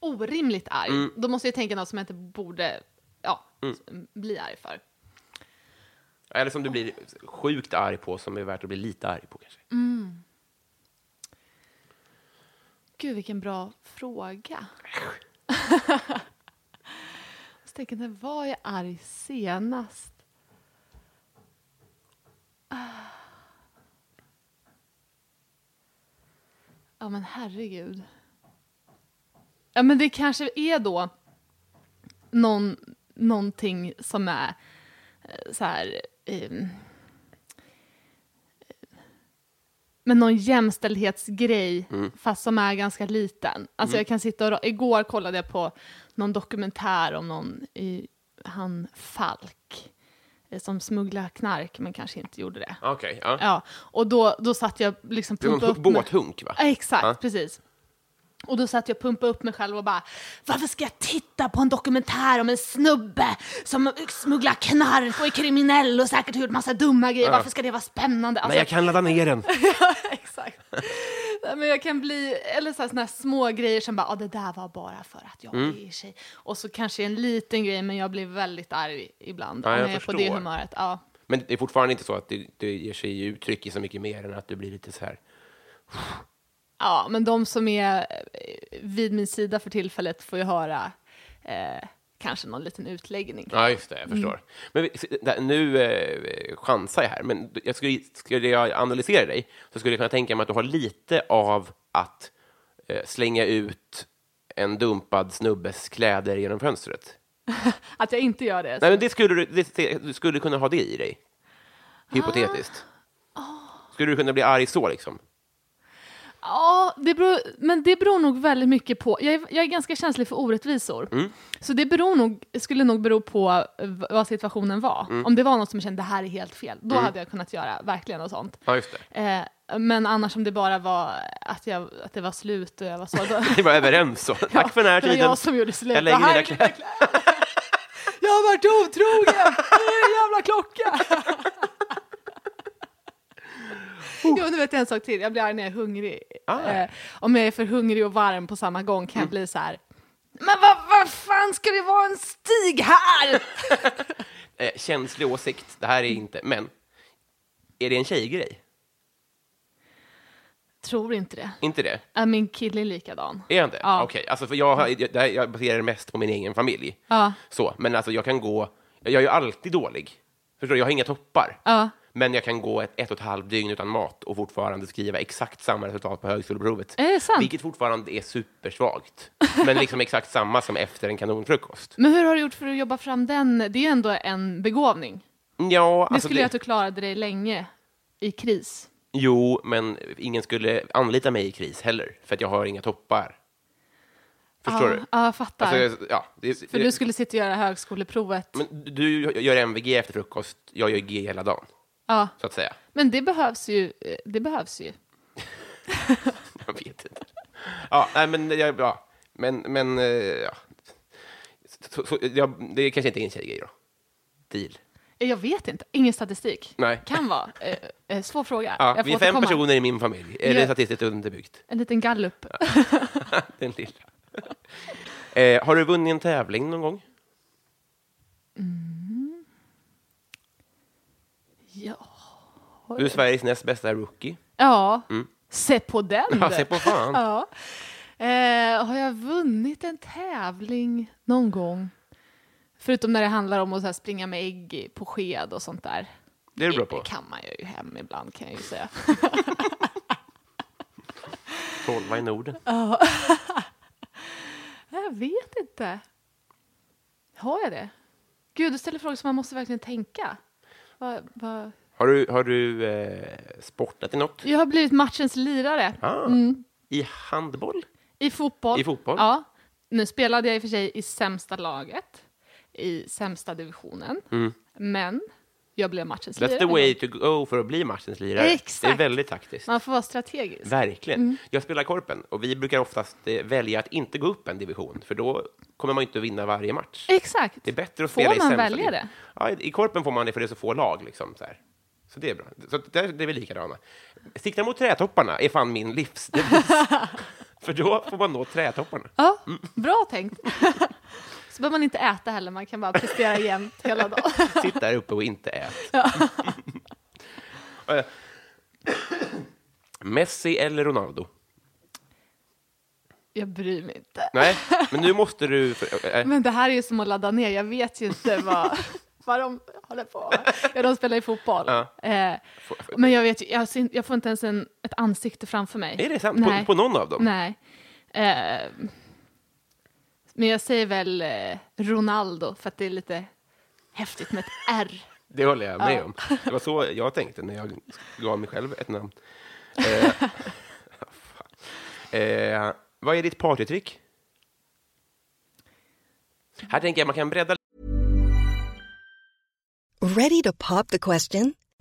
Speaker 2: Orimligt arg. Då måste jag tänka något som jag inte borde ja, bli arg för.
Speaker 1: Eller som du blir sjukt arg på, som är värt att bli lite arg på kanske.
Speaker 2: Gud, vilken bra fråga. jag tänker, när var jag arg senast? Ah. Ja, men herregud. Ja, men det kanske är då någon, någonting som är eh, så här... ehm, men någon jämställdhetsgrej
Speaker 1: Mm.
Speaker 2: fast som är ganska liten. Alltså jag kan sitta och, igår kollade jag på någon dokumentär om någon, i, han Falk, eh, som smugglade knark men kanske inte gjorde det.
Speaker 1: Okej, ja.
Speaker 2: alltså- Ja, och då, då satt jag liksom
Speaker 1: Det är
Speaker 2: pumpade
Speaker 1: någon
Speaker 2: upp mig-
Speaker 1: båthunk, va?
Speaker 2: Ja, Exakt,
Speaker 1: Ja.
Speaker 2: precis. Och då satt jag och pumpade upp mig själv och bara, varför ska jag titta på en dokumentär om en snubbe som smugglar knark och är kriminell och säkert har gjort massa dumma grejer, varför ska det vara spännande? Alltså,
Speaker 1: Men jag kan ladda ner den.
Speaker 2: Ja, exakt. Nej, men jag kan bli, eller så här, såna här små grejer som bara, ah, det där var bara för att jag
Speaker 1: Mm.
Speaker 2: är tjej. Och så kanske en liten grej, men jag blir väldigt arg ibland.
Speaker 1: Ja,
Speaker 2: om
Speaker 1: jag
Speaker 2: är på det
Speaker 1: förstår.
Speaker 2: humöret. Ja.
Speaker 1: Men det är fortfarande inte så att det, det ger sig uttryck i så mycket mer än att du blir lite så här.
Speaker 2: ja, men de som är eh, vid min sida för tillfället får ju höra eh, kanske någon liten utläggning.
Speaker 1: Ja, just det, jag
Speaker 2: Mm.
Speaker 1: förstår. Men vi- se- där- nu eh, chansar jag här, men jag skulle, skulle jag analysera dig så skulle jag kunna tänka mig att du har lite av att eh, slänga ut en dumpad snubbes kläder genom fönstret.
Speaker 2: Att jag inte gör det.
Speaker 1: Nej, men det skulle du, det, det- du skulle kunna ha det i dig. Hypotetiskt.
Speaker 2: Ah.
Speaker 1: Skulle du kunna bli arg så liksom?
Speaker 2: Ja, det beror, men det beror nog väldigt mycket på. Jag är, jag är ganska känslig för orättvisor.
Speaker 1: Mm.
Speaker 2: Så det beror nog, skulle nog bero på eh, vad situationen var.
Speaker 1: Mm.
Speaker 2: Om det var något som jag kände, det här är helt fel, då hade jag kunnat göra verkligen något sånt.
Speaker 1: Ja, just det.
Speaker 2: Eh, men annars om det bara var att, jag, att det var slut och jag var så... Då,
Speaker 1: Vi var överens så. Tack för den här
Speaker 2: det var
Speaker 1: tiden.
Speaker 2: jag som gjorde slut.
Speaker 1: Jag lägger
Speaker 2: Det här
Speaker 1: mina
Speaker 2: är
Speaker 1: kläder.
Speaker 2: Jag har varit otrogen! Det är en jävla klocka!
Speaker 1: Oh.
Speaker 2: Jo, nu vet jag en sak till. Jag blir arg när jag är hungrig.
Speaker 1: Ah.
Speaker 2: Eh, om jag är för hungrig och varm på samma gång
Speaker 1: Mm.
Speaker 2: kan jag bli så här. Men vad vad fan ska det vara en stig här?
Speaker 1: Eh, känslig åsikt, det här är inte, men är det en tjejgrej?
Speaker 2: Tror inte det.
Speaker 1: Inte det?
Speaker 2: Äh, min kille är likadan.
Speaker 1: Är jag inte?
Speaker 2: Ja.
Speaker 1: Okej, alltså för jag, har- jag, det här- jag baserar det mest på min egen familj.
Speaker 2: Ja.
Speaker 1: Så, men alltså jag kan gå, jag är ju alltid dålig. Förstår du? Jag har inga toppar.
Speaker 2: Ja.
Speaker 1: Men jag kan gå ett, ett och ett halvt dygn utan mat och fortfarande skriva exakt samma resultat på högskoleprovet.
Speaker 2: Är det sant?
Speaker 1: Vilket fortfarande är supersvagt. Men liksom exakt samma som efter en kanonfrukost.
Speaker 2: Men hur har du gjort för att jobba fram den? Det är ju ändå en begåvning.
Speaker 1: Ja,
Speaker 2: Det
Speaker 1: alltså
Speaker 2: skulle göra att du klarade dig länge i kris.
Speaker 1: Jo, men ingen skulle anlita mig i kris heller, för att jag har inga toppar. Förstår
Speaker 2: ja,
Speaker 1: du?
Speaker 2: Ja, jag fattar.
Speaker 1: Alltså, ja, det,
Speaker 2: för
Speaker 1: det,
Speaker 2: du skulle sitta och göra högskoleprovet.
Speaker 1: men du gör MVG efter frukost, jag gör G hela dagen,
Speaker 2: ja.
Speaker 1: så att säga.
Speaker 2: Men det behövs ju. eh, Det behövs ju.
Speaker 1: Jag vet inte. Ja, nej, men, jag, ja, men, men eh, ja. Så, så, jag, det kanske inte är en tjejgrej då? Deal.
Speaker 2: Eh, Jag vet inte. Ingen statistik.
Speaker 1: Nej.
Speaker 2: Kan vara. Eh, eh, svår fråga.
Speaker 1: Ja,
Speaker 2: jag får
Speaker 1: vi är fem
Speaker 2: återkomma.
Speaker 1: personer i min familj. Är
Speaker 2: Ja.
Speaker 1: det statistiskt underbyggt?
Speaker 2: En liten gallup.
Speaker 1: Den lilla. eh, har du vunnit en tävling någon gång?
Speaker 2: Ja.
Speaker 1: Du är Sveriges näst bästa rookie.
Speaker 2: ja. Se på den.
Speaker 1: Mm. Ja, se på fan.
Speaker 2: Mm. Ja. Eh, har jag vunnit en tävling någon gång? Förutom när det handlar om att så här springa med ägg på sked och sånt där.
Speaker 1: Det är du bra på.
Speaker 2: kan man ju hem ibland kan jag ju säga.
Speaker 1: Tolva i Norden.
Speaker 2: Jag vet inte. Har jag det? Gud, du ställer frågor som man måste verkligen tänka. Vad- vad-
Speaker 1: Har du, har du eh, sportat i något?
Speaker 2: Jag har blivit matchens lirare.
Speaker 1: Ah,
Speaker 2: Mm.
Speaker 1: I handboll?
Speaker 2: I fotboll.
Speaker 1: I fotboll?
Speaker 2: Ja. Nu spelade jag i och för sig i sämsta laget, i sämsta divisionen. Men jag blev matchens
Speaker 1: Mm. That's the
Speaker 2: lirare.
Speaker 1: way to go för att bli matchens lirare. Det är
Speaker 2: Exakt. Mm.
Speaker 1: väldigt taktiskt.
Speaker 2: Man får vara strategisk.
Speaker 1: Verkligen. Jag spelar korpen och vi brukar oftast eh, välja att inte gå upp en division för då kommer man ju inte att vinna varje match.
Speaker 2: Exakt.
Speaker 1: Det är bättre att
Speaker 2: Får
Speaker 1: spela i
Speaker 2: man
Speaker 1: sämsta
Speaker 2: välja
Speaker 1: ligan.
Speaker 2: det?
Speaker 1: Ja, i- I korpen får man det för det är så få lag. Liksom, så, här. så det är bra. Så att där, det är vi likadana. Sikta mot trädtopparna är fan min livsdevis. för då får man nå trädtopparna.
Speaker 2: Ja, bra tänkt. Så behöver man inte äta heller, man kan bara prestera jämt hela dagen.
Speaker 1: Sitt där uppe och inte ät. Eh, Messi eller Ronaldo?
Speaker 2: Jag bryr mig inte.
Speaker 1: Nej, men nu måste du... För, eh, eh,
Speaker 2: Men det här är ju som att ladda ner, jag vet ju inte vad, vad de håller på med. Ja, de spelar ju fotboll. Eh, men jag vet ju, jag, ser, jag får inte ens en, ett ansikte framför mig.
Speaker 1: är det sant? På,
Speaker 2: Nej.
Speaker 1: på någon av dem?
Speaker 2: Nej. Eh, men jag säger väl eh, Ronaldo, för att det är lite häftigt med ett R.
Speaker 1: Det håller jag med om. Det var så jag tänkte när jag gav mig själv ett namn. Eh, eh, vad är ditt partytrick? Här tänker jag man kan bredda
Speaker 3: Ready to pop the question?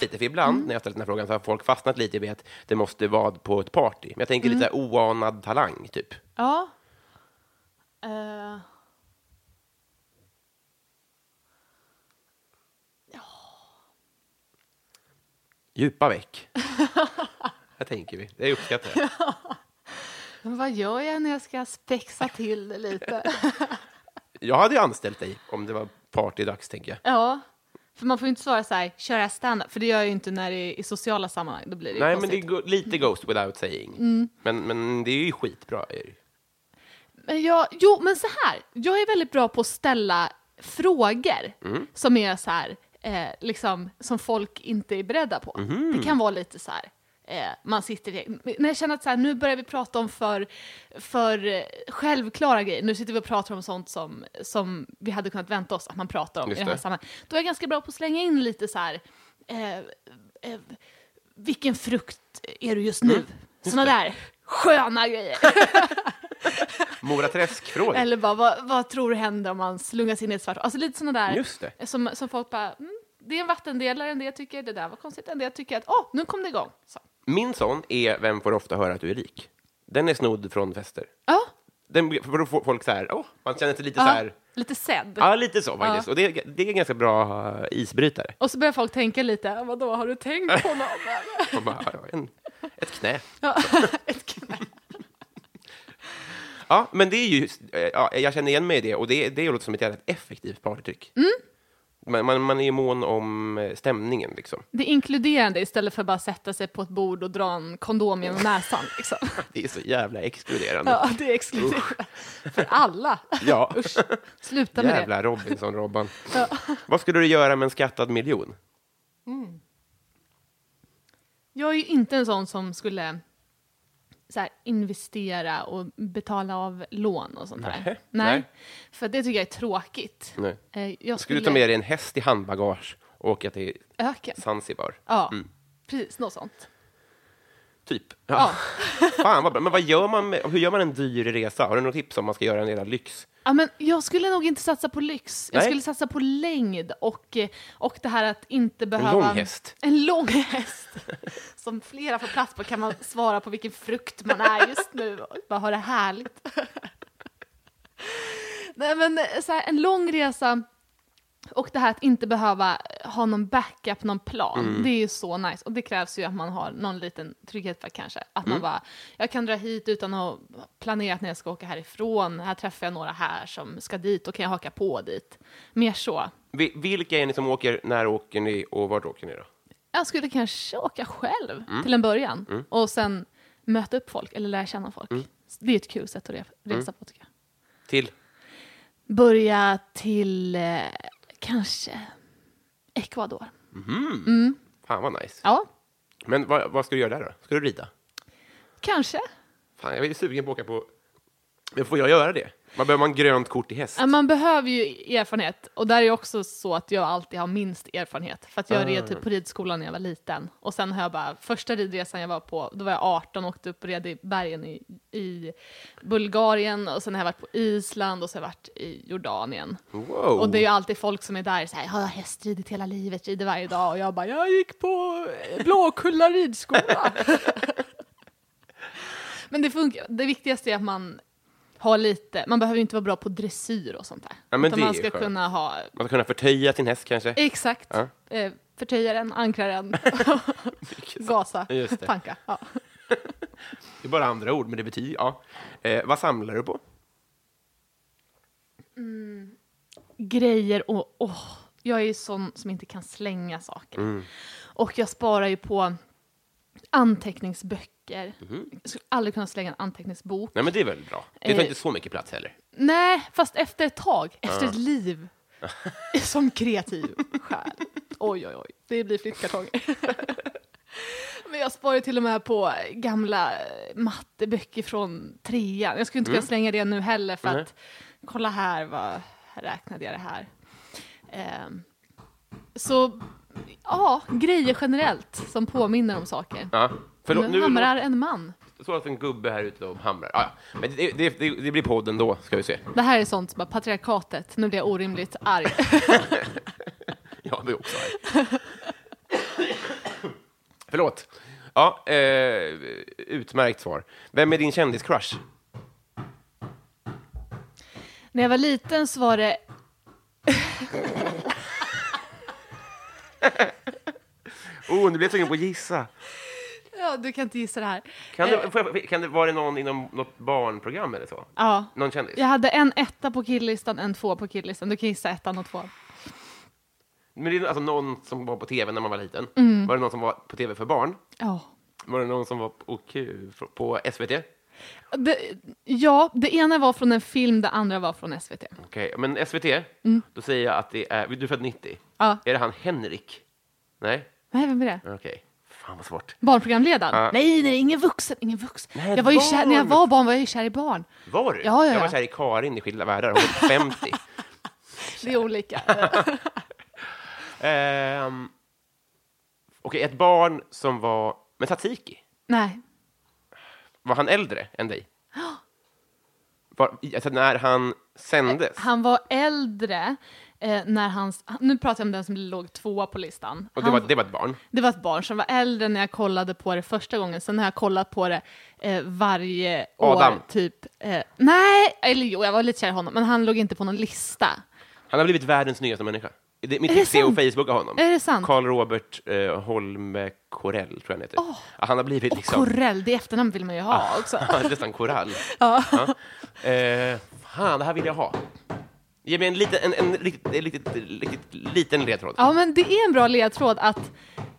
Speaker 1: lite, för ibland
Speaker 2: Mm.
Speaker 1: när jag ställt den här frågan så har folk fastnat lite i att det måste vara på ett party. Men jag tänker
Speaker 2: Mm.
Speaker 1: lite så här oanad talang, typ.
Speaker 2: Ja. Eh.
Speaker 1: Djupa veck. det tänker vi. Det uppskattar jag.
Speaker 2: Men vad gör jag när jag ska spexa till det lite?
Speaker 1: Jag hade ju anställt dig om det var partydags, tänker jag.
Speaker 2: ja. För man får ju inte svara så här, köra stand-up, för det gör jag ju inte när det är i sociala sammanhang. Då blir det
Speaker 1: Nej,
Speaker 2: ju
Speaker 1: men det är
Speaker 2: konstigt. Mm.
Speaker 1: go- lite ghost without saying. Men, men det är ju skitbra. är det ju.
Speaker 2: Men jag, jo, men så här. Jag är väldigt bra på att ställa frågor som är så här, eh, liksom, som folk inte är beredda på. Det kan vara lite så här, eh, man sitter i, när jag känner att så här, nu börjar vi prata om för, för eh, självklara grejer, nu sitter vi och pratar om sånt som, som vi hade kunnat vänta oss att man pratar om
Speaker 1: Just
Speaker 2: i det här
Speaker 1: det.
Speaker 2: sammanhanget. Då är jag ganska bra på att slänga in lite så här, eh, eh, vilken frukt är du Mm. just nu? Såna där sköna grejer.
Speaker 1: Mora Träsk-fråga.
Speaker 2: Eller bara, vad, vad tror du händer om man slungas in i ett svart Alltså lite sådana där
Speaker 1: Just det.
Speaker 2: Som, som folk bara, mm, det är en vattendelare, en del tycker det där var konstigt, en del tycker att, åh, nu kom det igång. Så.
Speaker 1: Min sån är Vem får ofta höra att du är rik? Den är snodd från fester.
Speaker 2: Ja,
Speaker 1: Den, för då får folk så här, åh, man känner sig lite
Speaker 2: ja.
Speaker 1: så här,
Speaker 2: lite sedd.
Speaker 1: ja lite så faktiskt. Och det, är- det är en ganska bra eh, isbrytare.
Speaker 2: Och så börjar folk tänka lite, vadå, har du tänkt på någon?
Speaker 1: Man bara, ja, en, ett knä.
Speaker 2: ja, ett knä.
Speaker 1: Ja, men det är ju, eh, ja, jag känner igen mig i det och det, det låter som ett jävligt effektivt partytryck.
Speaker 2: Mm.
Speaker 1: Man, man, man är ju mån om eh, stämningen liksom.
Speaker 2: Det är inkluderande istället för bara sätta sig på ett bord och dra en kondom genom näsan. Liksom.
Speaker 1: Det är så jävla exkluderande.
Speaker 2: Ja, det är exkluderande. För alla.
Speaker 1: Ja.
Speaker 2: Usch, sluta med det.
Speaker 1: Jävla Robinson-Robban. Vad skulle du göra med en skattad miljon?
Speaker 2: Jag är ju inte en sån som skulle så här, investera och betala av lån och sånt där.
Speaker 1: Nej.
Speaker 2: Nej.
Speaker 1: Nej.
Speaker 2: För det tycker jag är tråkigt.
Speaker 1: Nej.
Speaker 2: Eh, Jag
Speaker 1: Skulle
Speaker 2: skulle
Speaker 1: du ta med dig en häst i handbagage och åka till
Speaker 2: öken.
Speaker 1: Zanzibar?
Speaker 2: Ja, precis. Något sånt.
Speaker 1: Typ. Ja. Fan vad bra. Men vad gör man med, hur gör man en dyr resa? Har du något tips om man ska göra en jävla lyx?
Speaker 2: Ja, men jag skulle nog inte satsa på lyx. Jag
Speaker 1: Nej.
Speaker 2: skulle satsa på längd och, eh, och det här att inte behöva...
Speaker 1: lång häst.
Speaker 2: En lång häst. Som flera får plats på kan man svara på vilken frukt man är just nu och bara ha det härligt. Nej, men eh, så här, en lång resa och det här att inte behöva ha någon backup, någon plan,
Speaker 1: Mm.
Speaker 2: det är ju så nice. Och det krävs ju att man har någon liten trygghet för kanske. Att
Speaker 1: Mm.
Speaker 2: man bara, jag kan dra hit utan att ha planerat när jag ska åka härifrån. Här träffar jag några här som ska dit, och kan jag haka på dit. Mer så.
Speaker 1: Vi- Vilka är ni som åker, när åker ni och vart åker ni då?
Speaker 2: Jag skulle kanske åka själv till en början och sen möta upp folk eller lära känna folk. Det är ett kul sätt att re- resa på tycker jag.
Speaker 1: Till?
Speaker 2: Börja till eh, kanske Ecuador.
Speaker 1: Fan vad nice.
Speaker 2: Ja,
Speaker 1: Men vad, vad ska du göra där då? Ska du rida?
Speaker 2: kanske.
Speaker 1: Fan, jag är sugen på att åka på... Men får jag göra det? Man behöver man grönt kort i häst?
Speaker 2: Ja, Man behöver ju erfarenhet och där är det också så att jag alltid har minst erfarenhet. För att jag
Speaker 1: Ah.
Speaker 2: red typ på ridskolan när jag var liten och sen har jag bara, första ridresan jag var på, då var jag 18 och åkte upp och red i bergen i, i Bulgarien och sen har jag varit på Island och sen har jag varit i Jordanien.
Speaker 1: Wow.
Speaker 2: Och det är ju alltid folk som är där så här, har jag hästridit hela livet, rider varje dag och jag bara, jag gick på eh, Blåkulla ridskola. Men det funkar, det viktigaste är att man har lite, man behöver ju inte vara bra på dressyr och sånt där.
Speaker 1: Ja, men
Speaker 2: Utan
Speaker 1: det
Speaker 2: man
Speaker 1: är
Speaker 2: ska
Speaker 1: skönt.
Speaker 2: kunna ha,
Speaker 1: Man ska kunna förtöja sin häst kanske?
Speaker 2: exakt,
Speaker 1: Ja.
Speaker 2: eh, förtöja den, ankra den, gasa,
Speaker 1: Just det.
Speaker 2: tanka. Ja.
Speaker 1: Det är bara andra ord, men det betyder... Ja. Eh, vad samlar du på?
Speaker 2: Grejer och åh, jag är ju sån som inte kan slänga saker.
Speaker 1: Mm.
Speaker 2: Och jag sparar ju på anteckningsböcker.
Speaker 1: Mhm.
Speaker 2: Jag skulle aldrig kunna slänga en anteckningsbok.
Speaker 1: Nej, men det är väl bra. Det tar
Speaker 2: Eh.
Speaker 1: inte så mycket plats heller.
Speaker 2: Nej, fast efter ett tag, efter ett liv som kreativ själ. Oj, oj, oj, det blir flyttkartonger. Men jag sparar till och med på gamla eh, matteböcker från trean. Jag skulle inte kunna slänga det nu heller för att kolla här, vad räknade jag det här? Ehm, så ja, grejer generellt som påminner om saker.
Speaker 1: Ja. Förlåt,
Speaker 2: nu hamrar en man.
Speaker 1: Jag såg att en gubbe här ute och hamrar. Ah, ja. Men det, det, det, det blir podden då, ska vi se.
Speaker 2: Det här är sånt som bara patriarkatet, nu blir jag orimligt arg.
Speaker 1: Ja, det är också här. Förlåt. Ja, eh, utmärkt svar. Vem är din kändiscrush?
Speaker 2: När jag var liten så var det...
Speaker 1: Oh, nu blev jag tvungen på att gissa.
Speaker 2: Ja, du kan inte gissa det här. Eh,
Speaker 1: Kan det, får jag, kan det, var det någon inom något barnprogram eller så?
Speaker 2: Ja.
Speaker 1: Någon kändis?
Speaker 2: Jag hade en etta på killlistan, en två på killlistan. Du kan gissa ettan och tvåan.
Speaker 1: Men det är alltså någon som var på tv när man var liten.
Speaker 2: Mm.
Speaker 1: Var det någon som var på tv för barn?
Speaker 2: Ja.
Speaker 1: Var det någon som var på, kul- på SVT? Okej,
Speaker 2: Det, ja, det ena var från en film, det andra var från SVT.
Speaker 1: men SVT, då säger jag att det är... Du är född 90?
Speaker 2: Mm. Ja.
Speaker 1: Är det han Henrik? Nej?
Speaker 2: Nej, vem är det?
Speaker 1: Okej. Fan vad svårt.
Speaker 2: Barnprogramledaren?
Speaker 1: Ja.
Speaker 2: Nej, nej, ingen vuxen, ingen vuxen.
Speaker 1: Nej,
Speaker 2: jag var ju
Speaker 1: barn.
Speaker 2: kär, när jag var barn var jag ju kär i barn.
Speaker 1: Var du?
Speaker 2: Ja, ja,
Speaker 1: jag var
Speaker 2: ja.
Speaker 1: kär i Karin i Skilda världar, hon är 50.
Speaker 2: Det är olika.
Speaker 1: Ehm, Okej, ett barn som var... Men Tsatsiki,
Speaker 2: nej,
Speaker 1: var han äldre än dig? Var, alltså när han sändes?
Speaker 2: han var äldre eh, när hans... Nu pratar jag om den som låg tvåa på listan.
Speaker 1: Och det,
Speaker 2: Han-
Speaker 1: var, det var ett barn?
Speaker 2: Det var ett barn som var äldre när jag kollade på det första gången. Sen har jag kollat på det eh, varje
Speaker 1: Adam.
Speaker 2: år. Typ, eh, nej, eller jo, jag var lite kär i honom, men han låg inte på någon lista.
Speaker 1: Han har blivit världens nyaste människa. Det, mitt
Speaker 2: Är det
Speaker 1: tips är att
Speaker 2: sant?
Speaker 1: Facebooka honom.
Speaker 2: Är det sant?
Speaker 1: Karl Robert eh, Holme Corell, tror jag han heter. Ja, Han har blivit
Speaker 2: Och
Speaker 1: liksom... Ah.
Speaker 2: Corell, det efternamn vill man ju ha också.
Speaker 1: Nästan korall. Ja. Eh, fan, det här vill jag ha. Ge mig en liten, en, en riktigt, en riktigt, riktigt liten ledtråd.
Speaker 2: Ja, men det är en bra ledtråd att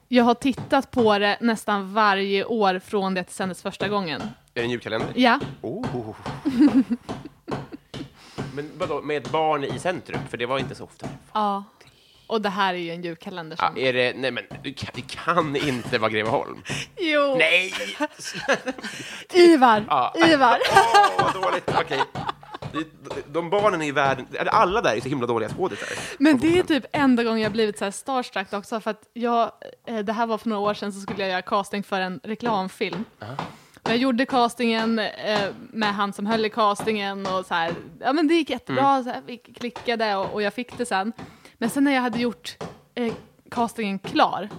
Speaker 2: jag har tittat på det nästan varje år från det att det sändes första gången.
Speaker 1: Är det en julkalender?
Speaker 2: Ja,
Speaker 1: Oh. Men vadå, med ett barn i centrum? För det var inte så ofta.
Speaker 2: ja. och det här är ju en julkalender.
Speaker 1: Ja,
Speaker 2: Som...
Speaker 1: Ah, är det, nej men, det kan, det kan inte vara Greveholm.
Speaker 2: Jo,
Speaker 1: Nej! Ah.
Speaker 2: Ivar!
Speaker 1: Ja.
Speaker 2: Ivar!
Speaker 1: Åh, vad dåligt. Okej. Det- De barnen i världen, eller alla där är så himla dåliga skådisar.
Speaker 2: Men det är typ enda gången jag blivit så här starstruck också, för att jag, eh, det här var för några år sedan så skulle jag göra casting för en reklamfilm. Och Jag gjorde castingen eh, med han som höll i castingen och så här, ja men det gick jättebra, så här, vi klickade och, och jag fick det sen. Men sen när jag hade gjort eh, castingen klar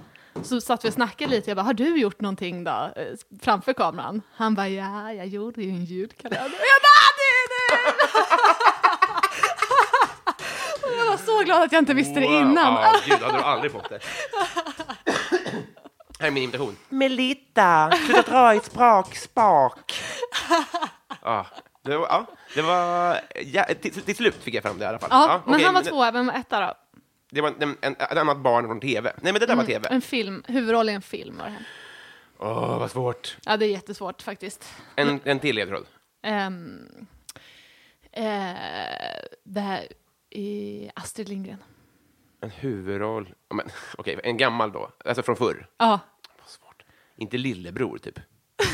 Speaker 2: så satt vi och snackade lite, jag bara, har du gjort någonting då? eh, Framför kameran? Han bara, ja, jag gjorde ju en julkalender. Och jag bara, det är du! Jag var så glad att jag inte visste det innan.
Speaker 1: Ja, gud, hade du aldrig fått det. Här är min imitation. Melitta, sluta dra i sprak, spak. Ja, det var... Ja, det var ja, till, till slut fick jag fram det i alla fall.
Speaker 2: Ja, men
Speaker 1: okej,
Speaker 2: han var tvåa, vem var etta då?
Speaker 1: Det var en, en, ett annat barn från tv. Nej, men det där var tv.
Speaker 2: Mm, En film, huvudroll i en film var det här.
Speaker 1: Åh, vad svårt.
Speaker 2: Ja, det är jättesvårt faktiskt.
Speaker 1: En, en till ledtråd.
Speaker 2: Ehm, eh, det här i Astrid Lindgren.
Speaker 1: En huvudroll. Ja, men, Okej, en gammal då. Alltså från förr.
Speaker 2: Ja,
Speaker 1: Svårt. Inte lillebror, typ?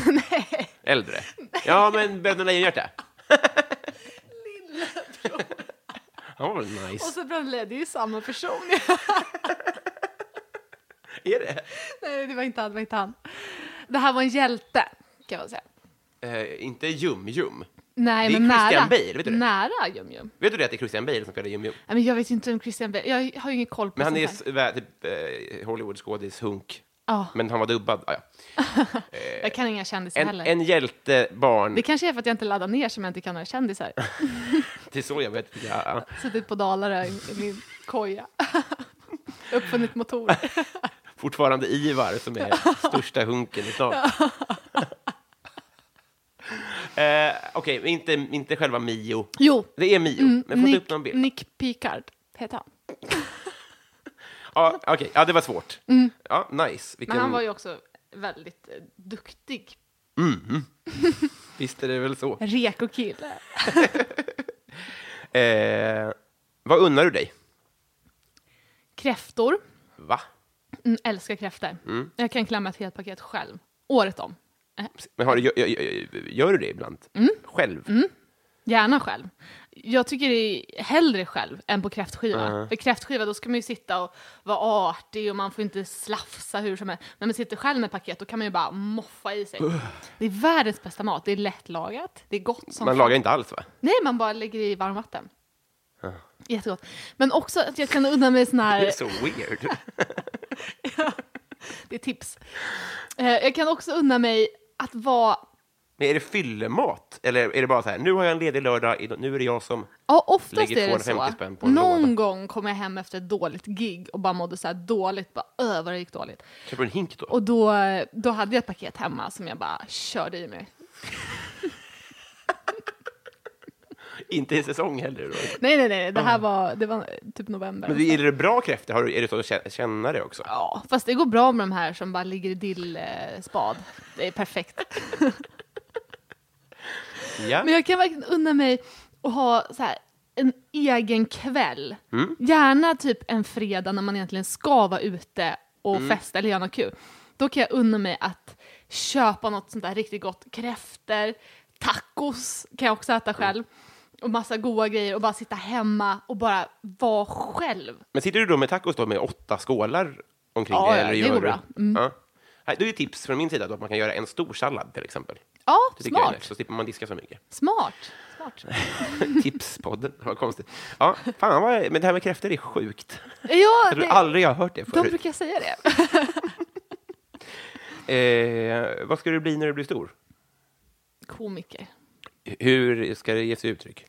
Speaker 1: Nej. Äldre? Ja, men Bröderna Lejonhjärta. lillebror. Han var väl
Speaker 2: och
Speaker 1: nice?
Speaker 2: så Bröderna Lejonhjärta, det är ju samma person.
Speaker 1: Är det?
Speaker 2: Nej, det var inte han, det var inte han. Det här var en hjälte, kan jag säga.
Speaker 1: Eh, inte Jum-Jum.
Speaker 2: Nej,
Speaker 1: Det är
Speaker 2: men nära.
Speaker 1: Christian Bale, vet du det?
Speaker 2: Nära Jum Jum.
Speaker 1: Vet du det att det är Christian Bale som spelar Jum-Jum?
Speaker 2: Nej, men jag vet inte om Christian Bale, jag har ju ingen koll på
Speaker 1: Men han är
Speaker 2: sånt här.
Speaker 1: s- vä- typ eh, Hollywood-skådis, hunk.
Speaker 2: Ja.
Speaker 1: Men han var dubbad. Ah, ja.
Speaker 2: Jag kan inga kändisar
Speaker 1: en,
Speaker 2: heller.
Speaker 1: en hjältebarn.
Speaker 2: Det kanske är för att jag inte laddar ner som jag inte kan några kändisar.
Speaker 1: Det är så jag vet. Ja.
Speaker 2: Suttit på Dalarö i, i min koja. Uppfunnit motorer.
Speaker 1: Fortfarande Ivar som är största hunken i stan. eh, Okej, men inte, inte själva Mio.
Speaker 2: Jo.
Speaker 1: Det är Mio, men får inte upp
Speaker 2: Mm, Nick,
Speaker 1: någon bild.
Speaker 2: Nick Picard heter han.
Speaker 1: Ja, okej. Ja, det var svårt. Ja, nice. Vilken...
Speaker 2: Mm. Men han var ju också väldigt eh, duktig
Speaker 1: Visst är det väl så.
Speaker 2: rekokille.
Speaker 1: Eh, vad unnar du dig?
Speaker 2: Kräftor.
Speaker 1: Va?
Speaker 2: Mm, älskar kräftor.
Speaker 1: Mm.
Speaker 2: Jag kan klämma ett helt paket själv. Året om. Eh,
Speaker 1: Men har du, gör, gör, gör du det ibland?
Speaker 2: Mm.
Speaker 1: Själv?
Speaker 2: Gärna själv. Jag tycker det är hellre själv än på kräftskiva. För kräftskiva då ska man ju sitta och vara artig och man får inte slafsa hur som helst. Men man sitter själv med ett paket då kan man ju bara moffa i sig. Det är världens bästa mat. Det är lättlagat. Det är gott som
Speaker 1: Man
Speaker 2: fan.
Speaker 1: lagar inte alls, va?
Speaker 2: Nej, man bara lägger i varmvatten. Jättegott. Men också att jag kan unna mig sån
Speaker 1: Det är
Speaker 2: här,
Speaker 1: så weird.
Speaker 2: det är tips. Eh, Jag kan också unna mig att vara,
Speaker 1: Men är det fyllemat? Eller är det bara så här, nu har jag en ledig lördag, idag- nu är det jag som...
Speaker 2: ja oftast
Speaker 1: Lägger
Speaker 2: är det
Speaker 1: 250
Speaker 2: så.
Speaker 1: spänn på en
Speaker 2: Någon
Speaker 1: låda.
Speaker 2: gång kom jag hem efter ett dåligt gig och bara mådde så här dåligt, bara öh vad det gick dåligt.
Speaker 1: Köper en hink då?
Speaker 2: Och då, då hade jag ett paket hemma som jag bara körde i mig.
Speaker 1: Inte i säsong heller. Då.
Speaker 2: Nej, nej, nej, det här var, det var typ november.
Speaker 1: Ah. Men det- är det bra kräftor? Har du- Är det så att kä- känna det också?
Speaker 2: Ja, fast det går bra med de här som bara ligger i dillspad. Det är perfekt.
Speaker 1: Ja.
Speaker 2: Men jag kan verkligen unna mig att ha så här, en egen kväll.
Speaker 1: Mm.
Speaker 2: Gärna typ en fredag när man egentligen ska vara ute och
Speaker 1: Mm.
Speaker 2: festa eller göra något kul. Då kan jag unna mig att köpa något sånt där riktigt gott. Kräftor, tacos kan jag också
Speaker 1: Mm.
Speaker 2: äta själv. Och massa goda grejer och bara sitta hemma och bara vara själv.
Speaker 1: Men sitter du då med tacos då med åtta skålar omkring
Speaker 2: Ja,
Speaker 1: dig,
Speaker 2: ja, Mm.
Speaker 1: eller
Speaker 2: det
Speaker 1: gör
Speaker 2: går
Speaker 1: du-
Speaker 2: bra.
Speaker 1: Ja. Nej, Då är ju tips från min sida då att man kan göra en stor sallad till exempel.
Speaker 2: Ja,
Speaker 1: Det tycker jag är nice,
Speaker 2: smart.
Speaker 1: så slipper man diska så mycket.
Speaker 2: Smart. Smart.
Speaker 1: Tipspodden, vad konstigt. Ja, fan vad, men det här med kräftor är sjukt.
Speaker 2: Ja,
Speaker 1: Jag tror
Speaker 2: det,
Speaker 1: aldrig jag har hört det
Speaker 2: de
Speaker 1: förut.
Speaker 2: brukar säga det.
Speaker 1: Eh, vad ska du bli när du blir stor?
Speaker 2: Komiker.
Speaker 1: Hur ska det ge sig uttryck?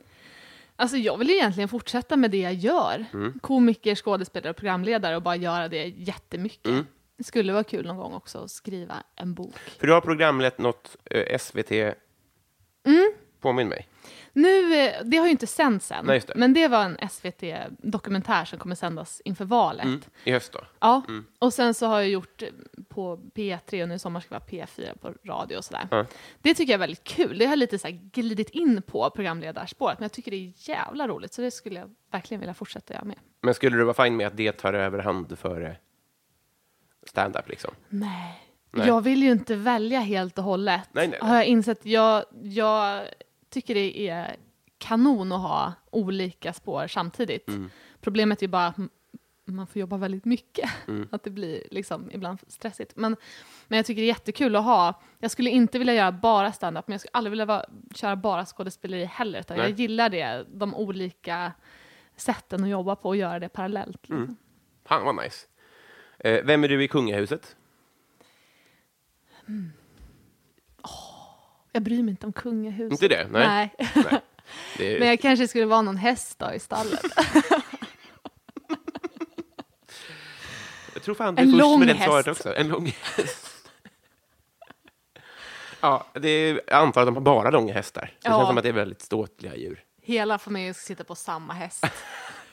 Speaker 2: Alltså jag vill ju egentligen fortsätta med det jag gör.
Speaker 1: Mm.
Speaker 2: Komiker, skådespelare och programledare och bara göra det jättemycket.
Speaker 1: Mm.
Speaker 2: Det skulle vara kul någon gång också att skriva en bok.
Speaker 1: För du har programlett något eh, SVT...
Speaker 2: Mm.
Speaker 1: Påminn mig.
Speaker 2: Nu, eh, det har ju inte sänts än,
Speaker 1: Nej, just det.
Speaker 2: men det var en SVT-dokumentär som kommer sändas inför valet.
Speaker 1: I höst då?
Speaker 2: Ja, och sen så har jag gjort eh, på P3 och nu i sommar ska jag vara P4 på radio och sådär. Det tycker jag är väldigt kul. Det har lite så här glidit in på programledarspåret, men jag tycker det är jävla roligt, så det skulle jag verkligen vilja fortsätta göra med.
Speaker 1: Men skulle du vara fin med att det tar över hand före stand-up liksom?
Speaker 2: Nej.
Speaker 1: Nej.
Speaker 2: Jag vill ju inte välja helt och hållet.
Speaker 1: Nej, nej, nej.
Speaker 2: Har jag insett. Jag, jag tycker det är kanon att ha olika spår samtidigt.
Speaker 1: Mm.
Speaker 2: Problemet är ju bara att m- man får jobba väldigt mycket.
Speaker 1: Mm.
Speaker 2: Att det blir liksom ibland stressigt. Men, men jag tycker det är jättekul att ha. Jag skulle inte vilja göra bara stand-up, men jag skulle aldrig vilja vara, köra bara skådespeleri heller. Utan
Speaker 1: Nej.
Speaker 2: jag gillar det, de olika sätten att jobba på och göra det parallellt. liksom.
Speaker 1: Mm. Fan vad nice. Eh, vem är du i kungahuset?
Speaker 2: Jag bryr mig inte om kungahuset.
Speaker 1: Inte det? Nej.
Speaker 2: nej.
Speaker 1: Det är,
Speaker 2: Men jag kanske skulle vara någon häst då i stallet.
Speaker 1: jag tror fan du är
Speaker 2: en
Speaker 1: först
Speaker 2: lång
Speaker 1: med det
Speaker 2: häst.
Speaker 1: svaret också. En lång häst. ja, det är, jag antar att de har bara långa hästar. Det
Speaker 2: Ja.
Speaker 1: känns som att det är väldigt ståtliga djur.
Speaker 2: Hela familjen ska sitta på samma häst.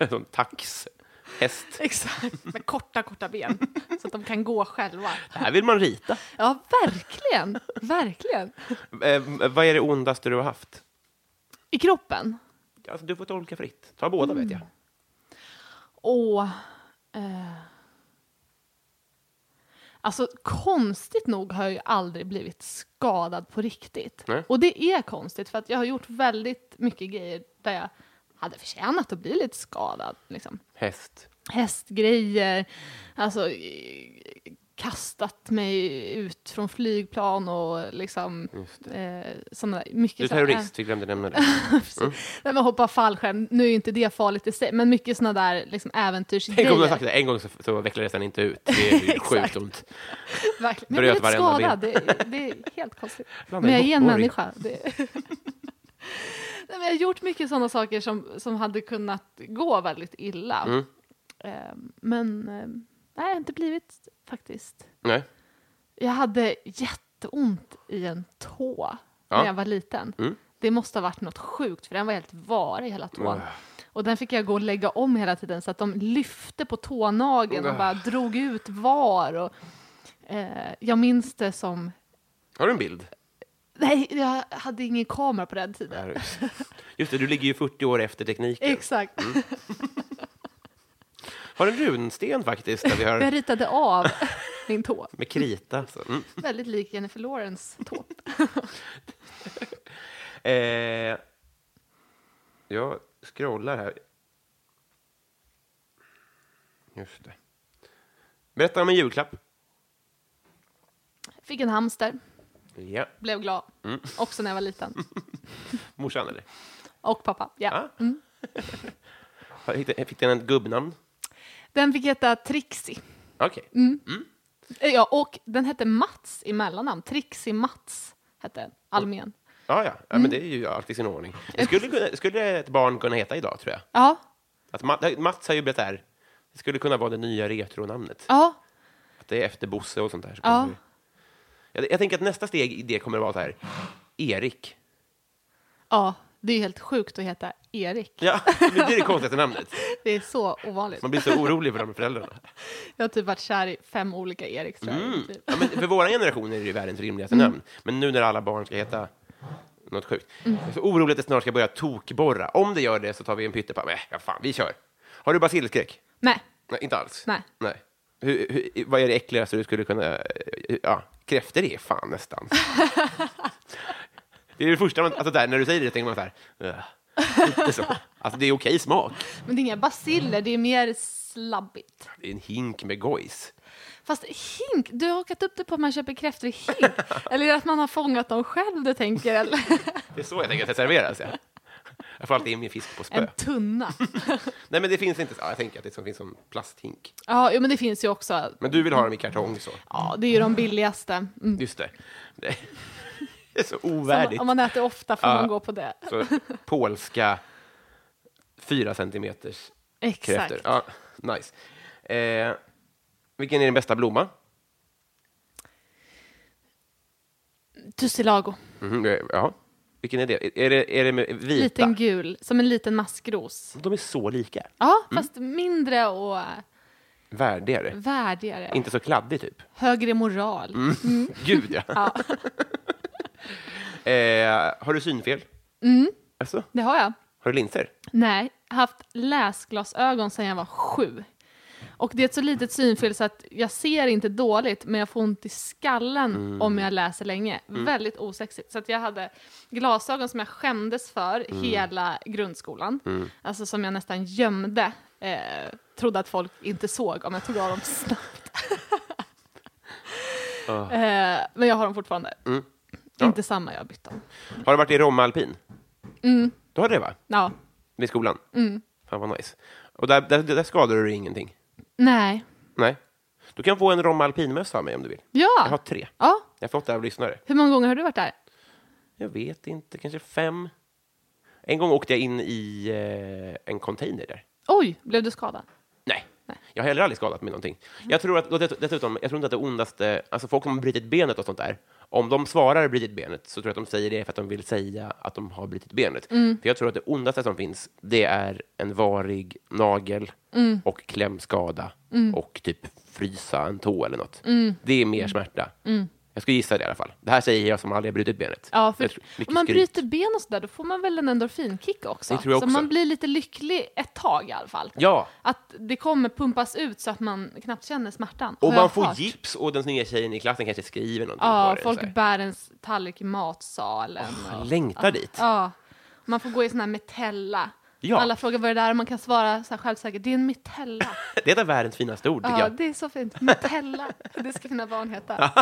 Speaker 1: Som tax. Häst.
Speaker 2: Exakt. Med korta, korta ben. Så att de kan gå själva.
Speaker 1: Det här vill man rita.
Speaker 2: Ja, verkligen. Verkligen.
Speaker 1: Eh, vad är det ondaste du har haft?
Speaker 2: I kroppen.
Speaker 1: Alltså, du får tolka fritt. Ta båda, vet
Speaker 2: Mm.
Speaker 1: jag.
Speaker 2: Och... Eh, alltså, konstigt nog har jag ju aldrig blivit skadad på riktigt.
Speaker 1: Nej.
Speaker 2: Och det är konstigt, för att jag har gjort väldigt mycket grejer där jag hade förtjänat att bli lite skadad. Liksom.
Speaker 1: Häst.
Speaker 2: hästgrejer, alltså eh, kastat mig ut från flygplan och liksom eh, sådana där, mycket
Speaker 1: Du är
Speaker 2: så här- eh,
Speaker 1: terrorist, vi glömde nämna det.
Speaker 2: Nej, men hoppa fallskärm, nu är ju inte det farligt i sig, men mycket sådana där
Speaker 1: Tänk
Speaker 2: liksom
Speaker 1: om du har
Speaker 2: äventyrsgrejer.
Speaker 1: sagt det en gång så, så vecklades den inte ut. Det är ju sjukt ont.
Speaker 2: Verkligen. Men
Speaker 1: Bröt
Speaker 2: jag blev
Speaker 1: varenda
Speaker 2: skadad, det, är- det är helt konstigt.
Speaker 1: Blanda
Speaker 2: Men jag
Speaker 1: ihop
Speaker 2: är en
Speaker 1: borg.
Speaker 2: människa. Det...
Speaker 1: Mm.
Speaker 2: Nej, men jag har gjort mycket sådana saker som, som hade kunnat gå väldigt illa. Eh, men eh, nej, inte blivit faktiskt.
Speaker 1: Nej.
Speaker 2: Jag hade jätteont i en tå
Speaker 1: Ja.
Speaker 2: när jag var liten.
Speaker 1: Mm.
Speaker 2: Det måste ha varit något sjukt, för den var helt var i hela tån.
Speaker 1: Ugh.
Speaker 2: Och den fick jag gå och lägga om hela tiden, så att de lyfte på tånageln och bara drog ut var. Och, eh, jag minns det som...
Speaker 1: Har du en bild?
Speaker 2: Nej, jag hade ingen kamera på den tiden.
Speaker 1: Där. Just det, du ligger ju 40 år efter tekniken.
Speaker 2: Exakt.
Speaker 1: Mm. Har en runsten faktiskt, där vi
Speaker 2: Jag
Speaker 1: har
Speaker 2: ritade av min tå.
Speaker 1: med krita. Så. Mm.
Speaker 2: Väldigt lik Jennifer Lawrence tå.
Speaker 1: Eh, jag scrollar här. Just det. Berätta om en julklapp.
Speaker 2: Fick en hamster,
Speaker 1: Ja.
Speaker 2: blev glad.
Speaker 1: Mm.
Speaker 2: Också när jag var liten.
Speaker 1: Morsan, eller?
Speaker 2: Och pappa, ja.
Speaker 1: Ah. Har- Fick den- fick den ett gubbnamn?
Speaker 2: Den fick heta Trixie.
Speaker 1: Okej.
Speaker 2: Eh, Ja, och den hette Mats i mellannamn. Trixie Mats hette den, allmän.
Speaker 1: Ah, ja, ja. Men det är ju alltid sin ordning. Det skulle, kunna- skulle ett barn kunna heta idag, tror jag.
Speaker 2: Ja,
Speaker 1: Att Ma- Mats har ju blivit det här. Det skulle kunna vara det nya retronamnet.
Speaker 2: ja,
Speaker 1: Det är efter Bosse och sånt där. Så
Speaker 2: Ja.
Speaker 1: kommer vi- jag, jag tänker att nästa steg i det kommer att vara så här. Erik.
Speaker 2: ja. Det är helt sjukt att heta Erik.
Speaker 1: Ja, men det är det konstigaste namnet.
Speaker 2: Det är så ovanligt.
Speaker 1: Man blir så orolig för de föräldrarna.
Speaker 2: Jag har typ varit kär i fem olika Eriks tror jag. i mitt liv.
Speaker 1: Mm. Ja, men för vår generation är det ju världens rimligaste namn. Men nu när alla barn ska heta något sjukt. Jag är så orolig att det snart ska börja tokborra. Om det gör det så tar vi en pyttepaj. Nej, ja, fan, vi kör. Har du basilskräck?
Speaker 2: Nej,
Speaker 1: Nej, inte alls.
Speaker 2: Nej.
Speaker 1: Nej. Hur, hur, vad är det äckligaste du skulle kunna... eh, Ja, kräftor är fan nästan. det är det första man... Alltså där, när du säger det tänker man så här... "Ugh." Inte så. Alltså det är okej smak.
Speaker 2: men det är inga basiller, det är mer slabbigt.
Speaker 1: Det är en hink med gojs.
Speaker 2: Fast hink, du har hakat upp det på att man köper kräftor i hink. eller att man har fångat dem själv, du tänker. Eller?
Speaker 1: Det är så jag tänker att det serveras. Ja. Jag får alltid in min fisk på spö.
Speaker 2: En tunna.
Speaker 1: Nej, men det finns inte. Ja, jag tänker att det som finns som plasthink.
Speaker 2: Ja, jo, men det finns ju också.
Speaker 1: Men du vill ha dem i kartong så.
Speaker 2: Ja, det är ju de billigaste. Mm.
Speaker 1: Just det. Det är så
Speaker 2: Om,
Speaker 1: ovärdigt.
Speaker 2: om man äter ofta får
Speaker 1: Ja.
Speaker 2: man gå på det.
Speaker 1: Så, polska fyra centimeters
Speaker 2: Exakt.
Speaker 1: kräftor. Ja, nice. Eh, vilken är din bästa blomma?
Speaker 2: Tussilago.
Speaker 1: Mhm, eh, ja. Vilken är det? Är det, är det med vita?
Speaker 2: Liten gul, som en liten maskros.
Speaker 1: De är så lika.
Speaker 2: Ja,
Speaker 1: Mm.
Speaker 2: fast mindre och eh,
Speaker 1: Värdigare.
Speaker 2: Mm. värdigare.
Speaker 1: Inte Mm. så kladdig, typ.
Speaker 2: Högre moral. Mm.
Speaker 1: Gud, ja. eh, har du synfel? Mm. Alltså,
Speaker 2: Det har jag.
Speaker 1: har du linser?
Speaker 2: Nej, haft läsglasögon sedan jag var sju. Och det är ett så litet synfel så att jag ser inte dåligt men jag får ont i skallen om jag läser länge. Väldigt osexigt. Så att jag hade glasögon som jag skämdes för hela grundskolan. Alltså som jag nästan gömde. Eh, trodde att folk inte såg om jag tog av dem snabbt. eh, men jag har dem fortfarande.
Speaker 1: Ja.
Speaker 2: Inte samma, jag har bytt dem.
Speaker 1: Har du varit i Romma alpin?
Speaker 2: Mm.
Speaker 1: Du har det, va?
Speaker 2: Ja.
Speaker 1: Vid skolan? Mm. Fan, vad nice. Och där, där, där skadar du dig ingenting?
Speaker 2: Nej.
Speaker 1: Nej. Du kan få en Romma alpinmössa av mig om du vill. Jag har
Speaker 2: Ja.
Speaker 1: tre.
Speaker 2: ja.
Speaker 1: Jag har fått det av lyssnare.
Speaker 2: Hur många gånger har du varit där?
Speaker 1: Jag vet inte, kanske fem. En gång åkte jag in i eh, en container där.
Speaker 2: Oj, blev du skadad?
Speaker 1: Nej. Jag har heller aldrig skadat mig någonting.
Speaker 2: Mm.
Speaker 1: Jag tror att, och dess- dessutom, jag tror inte att det ondaste, alltså folk som har brutit benet och sånt där, om de svarar brutit benet så tror jag att de säger det för att de vill säga att de har brutit benet.
Speaker 2: Mm.
Speaker 1: För jag tror att det ondaste som finns, det är en varig nagel
Speaker 2: Mm.
Speaker 1: och klämskada och typ frysa en tå eller något.
Speaker 2: Mm.
Speaker 1: Det är mer smärta. Jag skulle gissa det i alla fall. Det här säger jag som aldrig har brutit benet.
Speaker 2: Ja,
Speaker 1: Jag
Speaker 2: för
Speaker 1: tror- mycket
Speaker 2: om man
Speaker 1: skryt.
Speaker 2: bryter ben och sådär, då får man väl en endorfinkick också.
Speaker 1: Det tror jag
Speaker 2: så
Speaker 1: också.
Speaker 2: man blir lite lycklig ett tag i alla fall.
Speaker 1: Ja,
Speaker 2: Att det kommer pumpas ut så att man knappt känner smärtan.
Speaker 1: och
Speaker 2: Har jag
Speaker 1: man får
Speaker 2: hört.
Speaker 1: gips och den nya tjejen i klassen kanske skriver någonting på
Speaker 2: Ja,
Speaker 1: den, så här.
Speaker 2: folk bär en s- tallrik i matsalen.
Speaker 1: Jag
Speaker 2: och,
Speaker 1: längtar dit.
Speaker 2: ja, man får gå i sån här metella.
Speaker 1: Ja.
Speaker 2: Alla frågar vad det är och man kan svara så här självsäkert, det är en metella.
Speaker 1: Det är ett av världens finaste ord, tycker
Speaker 2: ja,
Speaker 1: jag.
Speaker 2: det är så fint. Metella, det ska mina barn heta.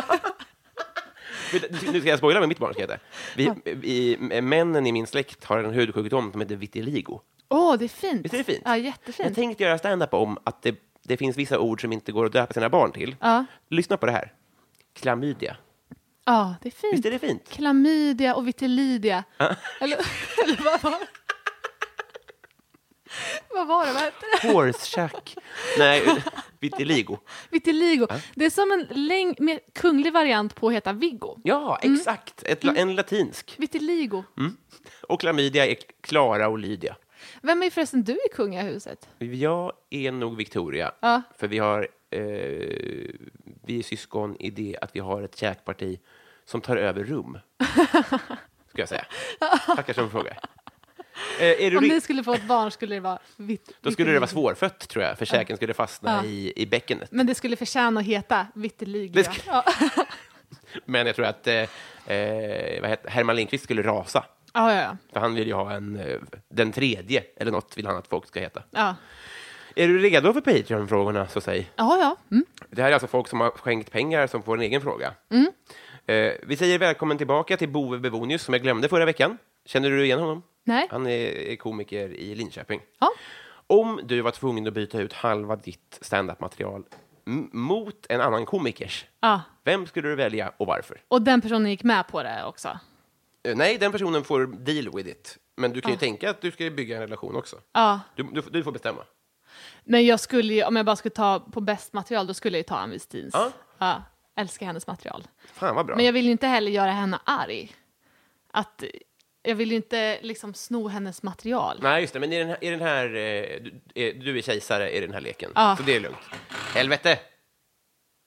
Speaker 1: Vet- Nu ska jag spoila vad mitt barn ska heta. Vi, vi, männen i min släkt har en hudsjukdom som heter vitiligo.
Speaker 2: Åh, det är fint.
Speaker 1: Visst är det fint?
Speaker 2: Ja,
Speaker 1: Jag
Speaker 2: jättefint.
Speaker 1: tänkte göra stand-up om att det, det finns vissa ord som inte går att döpa sina barn till.
Speaker 2: Ja.
Speaker 1: Lyssna på det här. Klamydia.
Speaker 2: Ja, det är fint.
Speaker 1: Visst är det fint? Ah.
Speaker 2: Klamydia och vitilidia. Eller, eller vad var det? Vad var det? Vad hette det?
Speaker 1: Horsechack. Nej, vitiligo.
Speaker 2: Vitiligo.
Speaker 1: Ah.
Speaker 2: Det är som en läng- mer kunglig variant på att heta Viggo.
Speaker 1: Ja, exakt. Ett, la- En latinsk.
Speaker 2: Vitiligo.
Speaker 1: Mm. Och klamydia är Klara och Lydia.
Speaker 2: Vem är förresten du i kungahuset?
Speaker 1: Jag är nog Victoria,
Speaker 2: Ja.
Speaker 1: för vi, har, eh, vi är syskon i det att vi har ett käkparti som tar över rum. Ska jag säga. Tackar som fråga. Eh, är du
Speaker 2: Om ni
Speaker 1: ri-
Speaker 2: skulle få ett barn skulle det vara vit-
Speaker 1: då skulle det vara
Speaker 2: vitiligo.
Speaker 1: svårfött, tror jag, för käken skulle fastna
Speaker 2: Ja.
Speaker 1: i, i bäckenet.
Speaker 2: Men det skulle förtjäna att heta vitiligo.
Speaker 1: Det
Speaker 2: Det
Speaker 1: sk-
Speaker 2: ja.
Speaker 1: Men jag tror att eh, eh, vad heter, Herman Lindqvist skulle rasa,
Speaker 2: ja, ja, ja.
Speaker 1: för han vill ju ha en, eh, den tredje, eller något vill han att folk ska heta.
Speaker 2: ja.
Speaker 1: Är du redo för Patreon-frågorna, så säg?
Speaker 2: ja, ja. Mm.
Speaker 1: Det här är alltså folk som har skänkt pengar som får en egen fråga.
Speaker 2: Mm.
Speaker 1: Eh, vi säger välkommen tillbaka till Bove Bevonius som jag glömde förra veckan. Känner du igen honom?
Speaker 2: Nej.
Speaker 1: Han är komiker i Linköping.
Speaker 2: Ja.
Speaker 1: Om du var tvungen att byta ut halva ditt standup-material m- mot en annan komikers,
Speaker 2: ja.
Speaker 1: vem skulle du välja och varför?
Speaker 2: Och den personen gick med på det också.
Speaker 1: Eh, nej, den personen får deal with it. Men du kan ju tänka att du ska ju bygga en relation också.
Speaker 2: Ja.
Speaker 1: Du, du, du får bestämma.
Speaker 2: Men jag skulle ju, om jag bara skulle ta på bäst material, då skulle jag ju ta Ann Westins.
Speaker 1: Ja.
Speaker 2: Ja. Älskar hennes material.
Speaker 1: Fan vad bra.
Speaker 2: Men jag vill ju inte heller göra henne arg. Att, jag vill ju inte liksom sno hennes material.
Speaker 1: Nej, just det. Men i den här... I den här eh, du, eh, du är kejsare i den här leken,
Speaker 2: Ja.
Speaker 1: så det är lugnt. Helvete!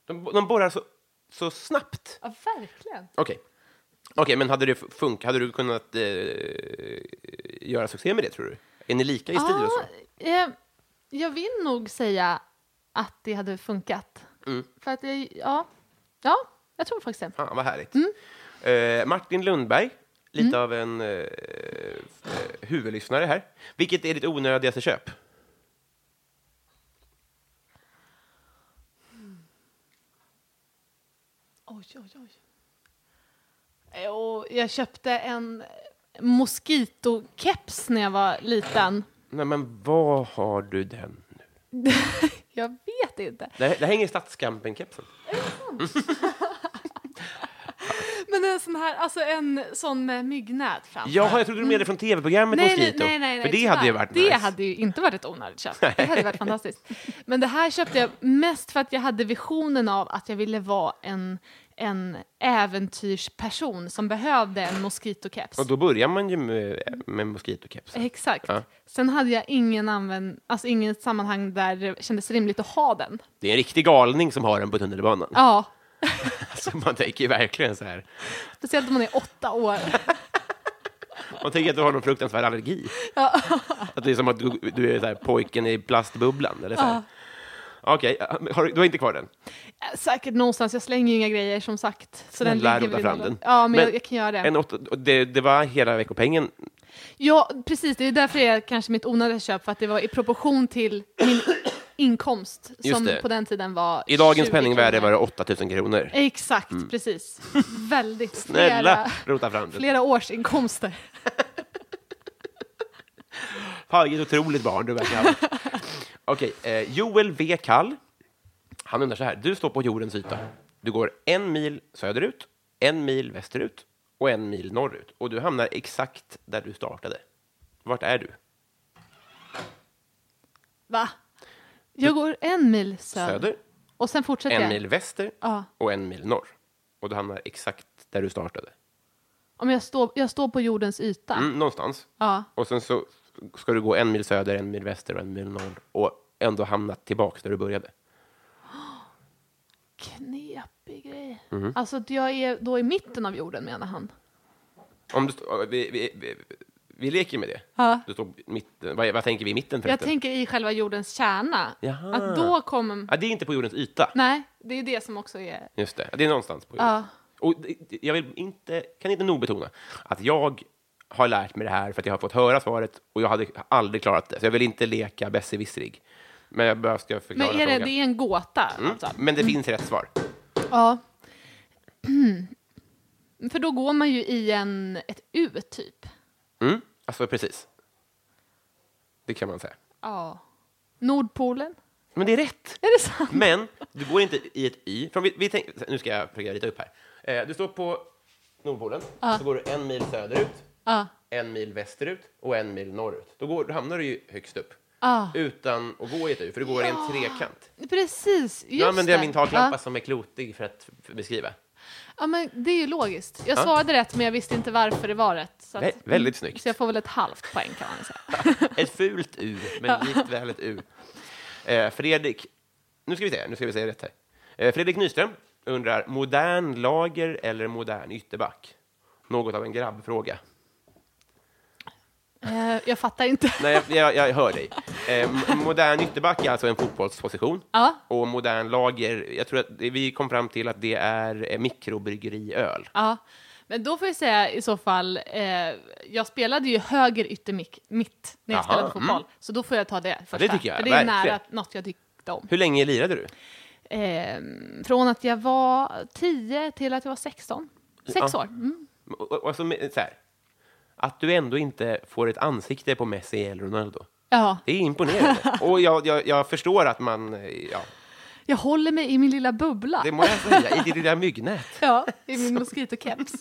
Speaker 1: De, de borrar så, så snabbt.
Speaker 2: Ja, verkligen.
Speaker 1: Okej. Okej, men hade det funkat? Hade du kunnat eh, göra succé med det, tror du? Är ni lika i stil och så?
Speaker 2: eh, jag vill nog säga att det hade funkat.
Speaker 1: Mm.
Speaker 2: För att jag, ja, ja, jag tror faktiskt det.
Speaker 1: Fan, vad härligt. Eh, Martin Lundberg, lite av en eh, eh, huvudlyssnare här. Vilket är ditt onödigaste köp?
Speaker 2: Oj, oj, oj. Eh, Och jag köpte en moskitokeps när jag var liten.
Speaker 1: Nej, men vad har du den?
Speaker 2: Jag vet inte.
Speaker 1: Det, det hänger i Stadskampen-kepsen.
Speaker 2: Men en sån här, alltså en sån med myggnät fram.
Speaker 1: Jaha, jag trodde du menade från tv-programmet
Speaker 2: Mm. Nej, nej,
Speaker 1: Mosquito.
Speaker 2: nej, nej,
Speaker 1: För
Speaker 2: nej,
Speaker 1: det hade ju
Speaker 2: tyvärr.
Speaker 1: varit
Speaker 2: Det
Speaker 1: nice.
Speaker 2: hade ju inte varit ett onödigt köp. Det hade varit fantastiskt. Men det här köpte jag mest för att jag hade visionen av att jag ville vara en, en äventyrsperson som behövde en moskitokeps.
Speaker 1: Och då börjar man ju med, med Mosquito-keps.
Speaker 2: Exakt.
Speaker 1: Ja.
Speaker 2: Sen hade jag ingen använd, alltså inget sammanhang där det kändes rimligt att ha den.
Speaker 1: Det är en riktig galning som har den på tunnelbanan.
Speaker 2: Ja,
Speaker 1: Alltså, man tänker ju verkligen så här.
Speaker 2: speciellt om man är åtta år.
Speaker 1: Man tänker att du har någon fruktansvärd allergi. Att det är som att du, du är så här, pojken i plastbubblan. Eller så här. Okej, har du- du har inte kvar den?
Speaker 2: Säkert någonstans, jag slänger ju inga grejer som sagt. Så den
Speaker 1: Snälla,
Speaker 2: ligger
Speaker 1: rota
Speaker 2: väl i
Speaker 1: fram
Speaker 2: någon-
Speaker 1: den.
Speaker 2: Ja, men,
Speaker 1: Men
Speaker 2: jag, jag kan göra det.
Speaker 1: En åtta, och det, det var hela veckopengen.
Speaker 2: Ja, precis. Det är därför det är kanske mitt onödiga köp, för att det var i proportion till min inkomst
Speaker 1: Just
Speaker 2: som
Speaker 1: det.
Speaker 2: på den tiden var
Speaker 1: I dagens
Speaker 2: 20
Speaker 1: penningvärde var
Speaker 2: kronor.
Speaker 1: det 8 000 kronor.
Speaker 2: Exakt, precis. Väldigt.
Speaker 1: Snälla,
Speaker 2: Flera,
Speaker 1: rota fram den.
Speaker 2: flera års inkomster.
Speaker 1: Fan, vilket otroligt barn du verkar ha. Okej, eh, Joel V. Kall. Han undrar så här. Du står på jordens yta. Du går en mil söderut, en mil västerut och en mil norrut. Och du hamnar exakt där du startade. Vart är du?
Speaker 2: Va? Jag går en mil söder.
Speaker 1: Söder,
Speaker 2: Och sen fortsätter
Speaker 1: en
Speaker 2: jag.
Speaker 1: mil väster
Speaker 2: Ja.
Speaker 1: och en mil norr. Och du hamnar exakt där du startade.
Speaker 2: Om jag, står, jag står på jordens yta.
Speaker 1: Mm, någonstans.
Speaker 2: Ja.
Speaker 1: Och sen så ska du gå en mil söder, en mil väster och en mil norr och ändå hamna tillbaka där du började.
Speaker 2: Knepig grej.
Speaker 1: Mhm.
Speaker 2: Alltså, att jag är då i mitten av jorden, menar han.
Speaker 1: Om du, st- vi, vi, vi, vi leker med det.
Speaker 2: Ja.
Speaker 1: Du står mitten. Vad, vad tänker vi i mitten
Speaker 2: Jag
Speaker 1: förresten?
Speaker 2: tänker i själva jordens kärna.
Speaker 1: Jaha.
Speaker 2: Att då kommer...
Speaker 1: ja, det är inte på jordens yta.
Speaker 2: Nej, det är det som också är...
Speaker 1: Just det, det är någonstans på jorden.
Speaker 2: Ja.
Speaker 1: Och det- det- jag vill inte, kan inte nog betona att jag har lärt mig det här för att jag har fått höra svaret och jag hade aldrig klarat det. Så jag vill inte leka besserwissrig. Men jag behöver ska
Speaker 2: Men
Speaker 1: förklara
Speaker 2: är det,
Speaker 1: frågan. Mm.
Speaker 2: det är en gåta? Alltså.
Speaker 1: Men det finns rätt svar.
Speaker 2: Ja. För då går man ju i en, ett U, typ.
Speaker 1: Mm? Alltså precis. Det kan man säga.
Speaker 2: Ja. Nordpolen?
Speaker 1: Men det är rätt.
Speaker 2: Är det sant?
Speaker 1: Men du går inte i ett Y. Från, vi, vi tänk, nu ska jag försöka rita upp här. Eh, du står på Nordpolen, så går du en mil söderut,
Speaker 2: Ja.
Speaker 1: en mil västerut och en mil norrut. Då, går, då hamnar du ju högst upp.
Speaker 2: Ah.
Speaker 1: Utan att gå i ett U, för du går i en trekant.
Speaker 2: Precis,
Speaker 1: Nu
Speaker 2: just
Speaker 1: använder jag
Speaker 2: det.
Speaker 1: min taklampa
Speaker 2: Ja.
Speaker 1: som är klotig för att f- beskriva.
Speaker 2: Ja, men det är ju logiskt. Jag svarade rätt, men jag visste inte varför det var rätt. Så, att,
Speaker 1: Vä- väldigt snyggt.
Speaker 2: så jag får väl ett halvt poäng kan man väl säga.
Speaker 1: Ett fult U, men likt väl ett U. Eh, Fredrik, nu ska vi se, nu ska vi säga rätt här. Eh, Fredrik Nyström undrar, modern lager eller modern ytterback? Något av en grabbfråga.
Speaker 2: Eh, jag fattar inte.
Speaker 1: Nej, jag, jag, jag hör dig. Eh, m- modern ytterback är alltså en fotbollsposition.
Speaker 2: Ja.
Speaker 1: Och modern lager, jag tror att det- vi kom fram till att det är eh, mikrobryggeriöl.
Speaker 2: Ja, men då får jag säga i så fall, eh, jag spelade ju höger yttermitt mitt när jag
Speaker 1: Jaha, mm.
Speaker 2: spelade fotboll, så då får jag ta det första.
Speaker 1: tycker jag,
Speaker 2: För det
Speaker 1: verkligen.
Speaker 2: är nära något jag tyckte om.
Speaker 1: Hur länge lirade du?
Speaker 2: Eh, från att jag var 10 till att jag var 16. Sex
Speaker 1: Ja.
Speaker 2: år. Mm.
Speaker 1: Och, och, och så, med- så här, att du ändå inte får ett ansikte på Messi eller Ronaldo.
Speaker 2: Ja,
Speaker 1: Det är imponerande. Och jag, jag, jag förstår att man... eh, Ja,
Speaker 2: jag håller mig i min lilla bubbla.
Speaker 1: det må jag säga, i ditt lilla myggnät.
Speaker 2: Ja, i min mosquitokeps.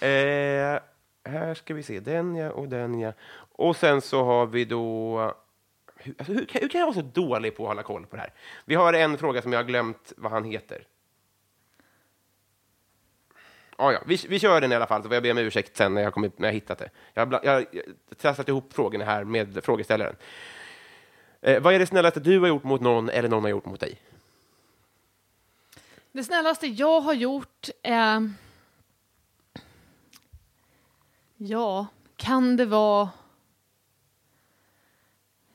Speaker 1: Eh, här ska vi se, den ja och den ja. Och sen så har vi då... Hur, alltså, hur, kan- hur kan jag vara så dålig på att hålla koll på det här? Vi har en fråga som jag har glömt vad han heter. Ah, ja, vi, vi kör den i alla fall, så får jag be om ursäkt sen när jag, kommit, när jag hittat det. Jag har, bla- jag har jag- trasslat ihop frågorna här med frågeställaren. Eh, vad är det snällaste du har gjort mot någon eller någon har gjort mot dig?
Speaker 2: Det snällaste jag har gjort... Eh, ja, kan det vara...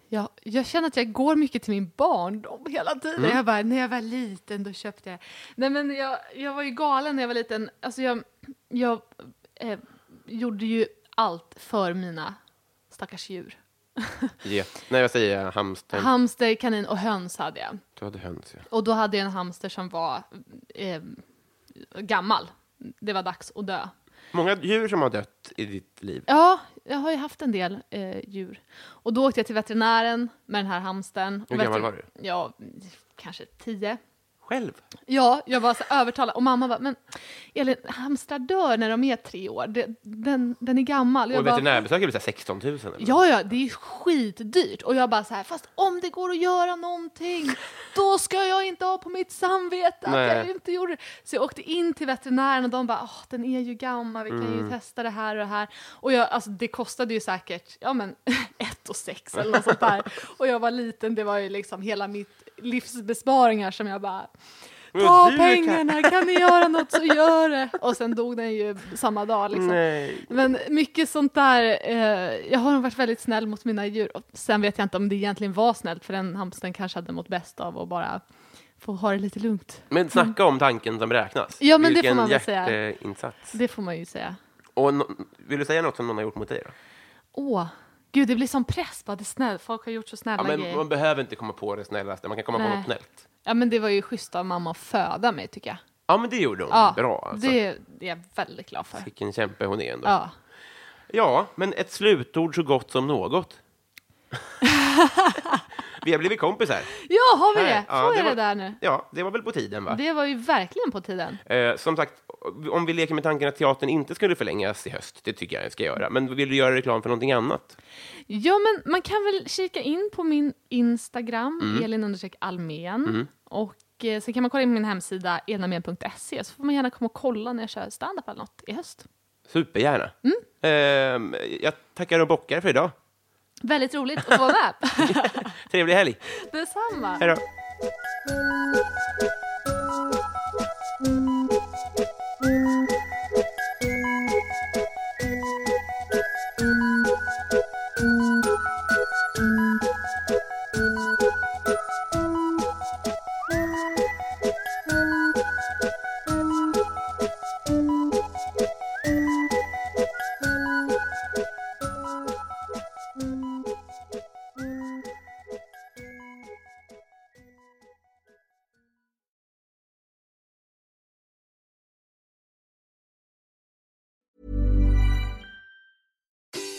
Speaker 2: Ja, jag känner att jag går mycket till min barndom hela tiden. Jag bara, när jag var liten då köpte jag... Nej men jag, jag var ju galen när jag var liten. Alltså jag, jag eh, gjorde ju allt för mina stackars djur.
Speaker 1: Get. Nej, jag säger hamstern.
Speaker 2: Hamster, kanin och höns hade jag.
Speaker 1: du hade höns, ja.
Speaker 2: Och då hade jag en hamster som var eh, gammal. Det var dags att dö.
Speaker 1: Många djur som har dött i ditt liv.
Speaker 2: Ja, jag har ju haft en del eh, djur. Och då åkte jag till veterinären med den här hamstern. Och
Speaker 1: Hur gammal
Speaker 2: veter-
Speaker 1: var du?
Speaker 2: Ja, kanske tio.
Speaker 1: Själv?
Speaker 2: Ja, jag var så övertalad. Och mamma bara, men Elin, hamstrar dör när de är tre år. Det, den, den är gammal.
Speaker 1: Och
Speaker 2: bara,
Speaker 1: veterinärbesök är väl så här 16 000? Eller?
Speaker 2: Ja, ja, det är skitdyrt. Och jag bara så här, fast om det går att göra någonting, då ska jag inte ha på mitt samvete att
Speaker 1: Nej.
Speaker 2: jag inte gjorde det. Så jag åkte in till veterinären och de bara, åh, den är ju gammal, vi kan
Speaker 1: Mm.
Speaker 2: ju testa det här och det här. Och jag, alltså, det kostade ju säkert, ja men, ett och sex eller något sånt där. Och jag var liten, det var ju liksom hela mitt livsbesparingar som jag bara,
Speaker 1: Men
Speaker 2: ta
Speaker 1: du kan-
Speaker 2: pengarna, kan ni göra något så gör det. Och sen dog den ju samma dag liksom.
Speaker 1: Nej.
Speaker 2: Men mycket sånt där, eh, jag har nog varit väldigt snäll mot mina djur. Och sen vet jag inte om det egentligen var snällt, för den hamstern kanske hade mått bäst av att bara få ha det lite lugnt.
Speaker 1: Men snacka om tanken som räknas.
Speaker 2: Ja, men det
Speaker 1: Vilken
Speaker 2: får man väl säga.
Speaker 1: hjärteinsats.
Speaker 2: Det får man ju säga.
Speaker 1: Och no vill du säga något som någon har gjort mot dig? Då?
Speaker 2: Åh, gud det blir sån press bara, det är snäll. folk har gjort så snälla
Speaker 1: Ja, men
Speaker 2: grejer.
Speaker 1: man behöver inte komma på det snällaste, man kan komma på
Speaker 2: Nej.
Speaker 1: något snällt.
Speaker 2: Ja men det var ju schysst av mamma att föda mig tycker jag.
Speaker 1: Ja, men det gjorde hon.
Speaker 2: Ja,
Speaker 1: Bra. Alltså.
Speaker 2: det, det är jag väldigt glad för.
Speaker 1: Vilken kämpe hon är ändå. Ja.
Speaker 2: Ja.
Speaker 1: men ett slutord så gott som något. Vi har blivit kompisar.
Speaker 2: ja, har vi
Speaker 1: Här.
Speaker 2: det? Får
Speaker 1: Ja,
Speaker 2: jag
Speaker 1: det
Speaker 2: det,
Speaker 1: var-
Speaker 2: där nu?
Speaker 1: Ja, det var väl på tiden, va?
Speaker 2: Det var ju verkligen på tiden.
Speaker 1: Eh, som sagt, om vi leker med tanken att teatern inte skulle förlängas i höst, det tycker jag den ska göra, men vill du göra reklam för någonting annat?
Speaker 2: Ja, men man kan väl kika in på min Instagram, Elin understreck Almén. Och eh, sen kan man kolla in på min hemsida, elinalmén.se, så får man gärna komma och kolla när jag kör standup eller något i höst.
Speaker 1: Supergärna. Eh, jag tackar och bockar för idag.
Speaker 2: Väldigt roligt att få vara med.
Speaker 1: Trevlig helg!
Speaker 2: Detsamma.
Speaker 1: Hej då!